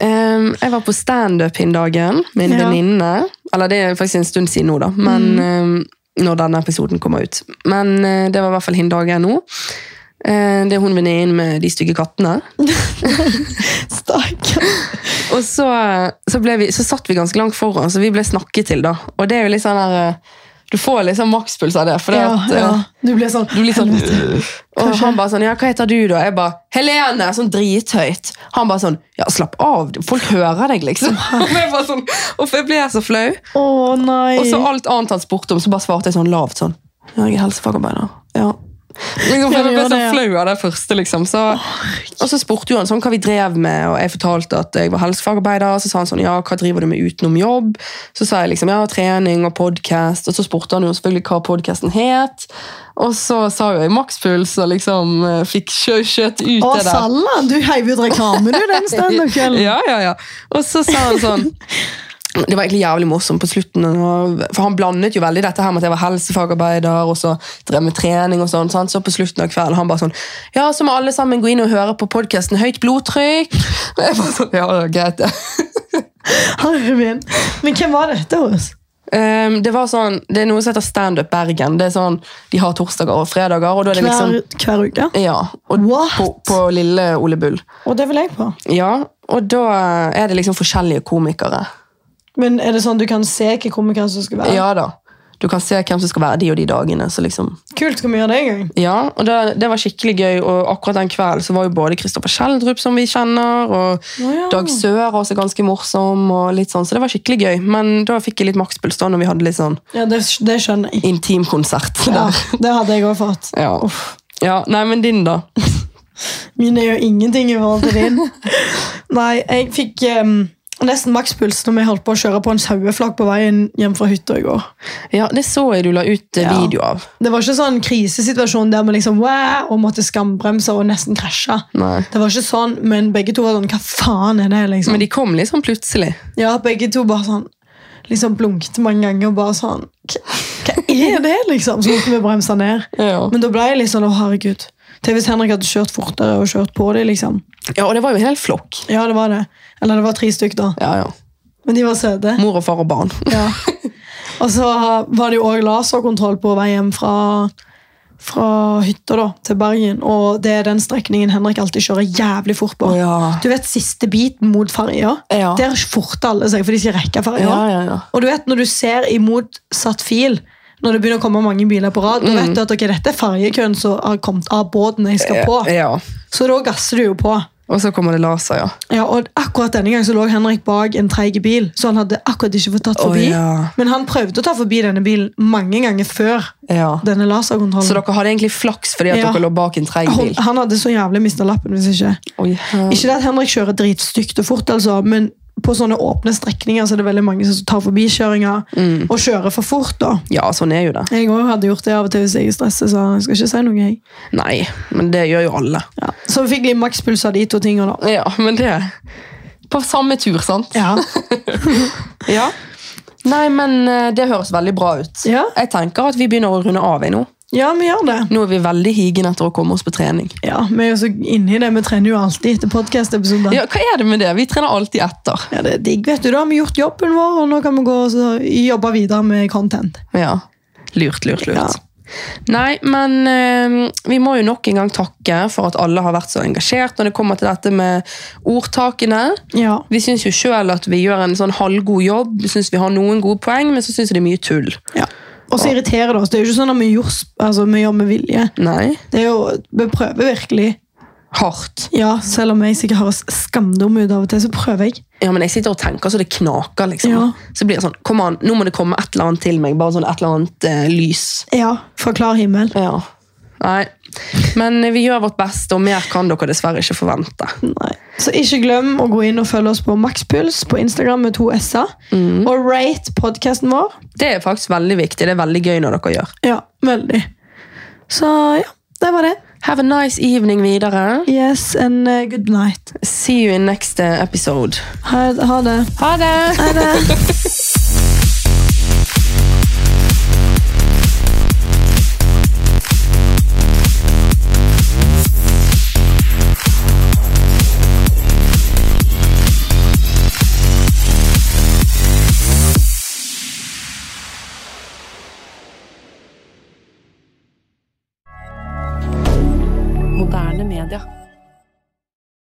Speaker 1: em, jeg var på standup hin dagen med en
Speaker 2: Ja.
Speaker 1: venninne. Eller det er faktisk en stund siden nå, da. Men
Speaker 2: Mm.
Speaker 1: em, når denne episoden kommer ut. Men eh, det var i hvert fall hin dagen nå. Eh, det er hun venninnen med de stygge kattene.
Speaker 2: Stakkar.
Speaker 1: Og så, så, ble vi, så satt vi ganske langt foran, så vi ble snakket til, da. Og det er jo litt sånn der eh, Du får litt sånn makspuls av det. For det
Speaker 2: Ja,
Speaker 1: at, eh,
Speaker 2: ja. Du blir sånn
Speaker 1: Du blir sånn,
Speaker 2: Helvete.
Speaker 1: og han bare sånn, ja, hva heter du da? Jeg bare, Helene, sånn drithøyt. Han bare sånn, ja, slapp av, folk hører deg liksom. Og jeg bare sånn, og for jeg ble så flau.
Speaker 2: Å nei.
Speaker 1: Og så alt annet han spurte om, så bare svarte jeg sånn lavt sånn, ja, jeg er helsefagarbeider. Ja. Liksom, for
Speaker 2: Ja,
Speaker 1: jeg
Speaker 2: du
Speaker 1: ble
Speaker 2: gjør
Speaker 1: så
Speaker 2: det, ja.
Speaker 1: flau av det første liksom. Så, og så spurte jo han sånn, hva vi drev med, og jeg fortalte at jeg var helsefagarbeider, så sa han sånn, ja, hva driver du med utenom jobb? Så sa jeg liksom, ja, trening og podcast, og så spurte han jo selvfølgelig hva podcasten het, og så sa jo jeg makspuls, og liksom eh, fikk kjø- kjøtt ut
Speaker 2: Å,
Speaker 1: det der.
Speaker 2: Salla, du heiv ut reklame du den standup-kvelden.
Speaker 1: Ja, ja, ja. Og så sa han sånn Det var egentlig jævlig morsomt på slutten. og- For han blandet jo veldig dette her med at jeg var helsefagarbeider og så drev med trening. og sånn, sant? Så på slutten av kvelden han bare sånn Ja, så må alle sammen gå inn og høre på podkasten Høyt blodtrykk. Og jeg bare sånn, ja, det er greit det.
Speaker 2: Herre min. Men hvem var dette hos?
Speaker 1: Ehm, det var sånn, det er noe som heter Standup Bergen. Det er sånn, De har torsdager og fredager. og da er det
Speaker 2: Hver,
Speaker 1: liksom...
Speaker 2: hver uke?
Speaker 1: Ja, og
Speaker 2: What?
Speaker 1: på, på lille Ole Bull.
Speaker 2: Og det vil jeg på.
Speaker 1: Ja, og da er det liksom forskjellige komikere.
Speaker 2: Men er det sånn du kan se hvilke komikere som skal være?
Speaker 1: Ja da. Du kan se hvem som skal være de og de dagene. Så liksom.
Speaker 2: Kult, skal vi gjøre det en gang?
Speaker 1: Ja, og det, det var skikkelig gøy, og akkurat den kvelden så var jo både Kristoffer Schjelderup, som vi kjenner, og
Speaker 2: Å ja.
Speaker 1: Dag Sør også ganske morsom, og litt sånn, så det var skikkelig gøy. Men da fikk jeg litt makspuls da, når vi hadde litt sånn
Speaker 2: Ja, det, det skjønner jeg.
Speaker 1: intimkonsert.
Speaker 2: Ja,
Speaker 1: der.
Speaker 2: det hadde jeg òg fått.
Speaker 1: Ja. ja. Nei, men din, da?
Speaker 2: Min er jo ingenting i forhold til din. Nei, jeg fikk em, nesten makspuls når vi holdt på å kjøre på en saueflakk på veien hjem fra hytta i går.
Speaker 1: Ja, det så jeg du la ut eh,
Speaker 2: Ja.
Speaker 1: video av.
Speaker 2: Det var ikke sånn krisesituasjon der vi liksom wow, og måtte skambremse og nesten krasje.
Speaker 1: Nei.
Speaker 2: Det var ikke sånn, men begge to var sånn Hva faen er det? liksom?
Speaker 1: Men de kom litt sånn plutselig.
Speaker 2: Ja, begge to bare sånn Liksom blunkte mange ganger og bare sånn Hva hva er det, liksom? Så måtte vi bremse ned.
Speaker 1: Ja.
Speaker 2: Men da ble jeg litt sånn Å, herregud. Tenk hvis Henrik hadde kjørt fortere og kjørt på dem, liksom.
Speaker 1: ja, og det var jo en hel flokk.
Speaker 2: Ja, det var det. Eller det var tre stykk, da.
Speaker 1: Ja, ja.
Speaker 2: Men de var søte.
Speaker 1: Mor og far og barn.
Speaker 2: Ja. Og så var det jo òg laserkontroll på vei hjem fra, fra hytta da, til Bergen. Og det er den strekningen Henrik alltid kjører jævlig fort på.
Speaker 1: Å, ja.
Speaker 2: Du vet siste biten mot ferja?
Speaker 1: Ja.
Speaker 2: Der forter alle seg, for de skal rekke ferja.
Speaker 1: Ja, ja, ja.
Speaker 2: Og du vet, når du ser i motsatt fil, når det begynner å komme mange biler på
Speaker 1: Mm.
Speaker 2: rad, da vet du at ok, dette er ferjekøen som har kommet av båten jeg skal på.
Speaker 1: Ja.
Speaker 2: Så da gasser du jo på.
Speaker 1: Å, Og så kommer det laser, ja.
Speaker 2: Ja, og akkurat denne gangen så lå Henrik bak en treig bil, så han hadde akkurat ikke fått tatt
Speaker 1: Å,
Speaker 2: forbi.
Speaker 1: ja.
Speaker 2: Men han prøvde å ta forbi denne bilen mange ganger før
Speaker 1: ja.
Speaker 2: denne
Speaker 1: Så
Speaker 2: laserkontrollen.
Speaker 1: dere hadde egentlig flaks fordi at
Speaker 2: Ja.
Speaker 1: dere lå bak en treig
Speaker 2: Han,
Speaker 1: bil?
Speaker 2: han hadde så jævlig mista lappen hvis ikke.
Speaker 1: Oi, ja.
Speaker 2: Ikke det at Henrik kjører dritstygt og fort, altså, men på sånne åpne strekninger så er det veldig mange som tar forbikjøringer
Speaker 1: Mm.
Speaker 2: og kjører for fort. da.
Speaker 1: ja, sånn er jo det.
Speaker 2: Jeg òg hadde gjort det av og til hvis jeg er stresset, så jeg skal ikke si noe. jeg.
Speaker 1: Nei, men det gjør jo alle.
Speaker 2: Ja. Så vi fikk litt makspuls av de to tingene. da.
Speaker 1: Ja, men det På samme tur, sant?
Speaker 2: Ja.
Speaker 1: Ja. Nei, men eh, det høres veldig bra ut.
Speaker 2: Ja.
Speaker 1: Jeg tenker at vi begynner å runde av jeg nå.
Speaker 2: ja, vi gjør det.
Speaker 1: Nå er vi veldig higen etter å komme oss på trening.
Speaker 2: Ja, Vi er jo så inni det. Vi trener jo alltid etter podkast-episoder.
Speaker 1: Ja, hva er det med det? Vi trener alltid etter.
Speaker 2: Ja, det er digg, vet du. Da har vi gjort jobben vår, og nå kan vi gå og så jobbe videre med content.
Speaker 1: Ja. Lurt, lurt, lurt.
Speaker 2: Ja.
Speaker 1: Nei, men eh, vi må jo nok en gang takke for at alle har vært så engasjert når det kommer til dette med ordtakene.
Speaker 2: Ja.
Speaker 1: Vi syns jo sjøl at vi gjør en sånn halvgod jobb. Vi syns vi har noen gode poeng, men så syns vi det er mye tull.
Speaker 2: ja. Og så irriterer det oss. Det er jo ikke sånn at vi gjør, altså, vi gjør med vilje.
Speaker 1: Nei.
Speaker 2: Det er jo, Vi prøver virkelig.
Speaker 1: Hardt.
Speaker 2: Ja, Selv om jeg sikkert høres skamdum ut av og til, så prøver jeg.
Speaker 1: Ja, men jeg sitter og tenker så det knaker, liksom.
Speaker 2: Ja.
Speaker 1: Så blir det sånn Kom an, nå må det komme et eller annet til meg. Bare sånn et eller annet eh, lys.
Speaker 2: Ja, Fra klar himmel.
Speaker 1: Ja. Nei. Men eh, vi gjør vårt beste, og mer kan dere dessverre ikke forvente.
Speaker 2: Nei. Så ikke glem å gå inn og følge oss på Makspuls på Instagram med to s-er. Og rate podkasten vår.
Speaker 1: Det er faktisk veldig viktig. Det er veldig gøy når dere gjør.
Speaker 2: Ja, veldig. Så ja, det var det.
Speaker 1: Have a nice evening videre.
Speaker 2: Yes, and uh, good night.
Speaker 1: See you in next eh, episode.
Speaker 2: Ha, ha det.
Speaker 1: Ha det!
Speaker 2: Ha det.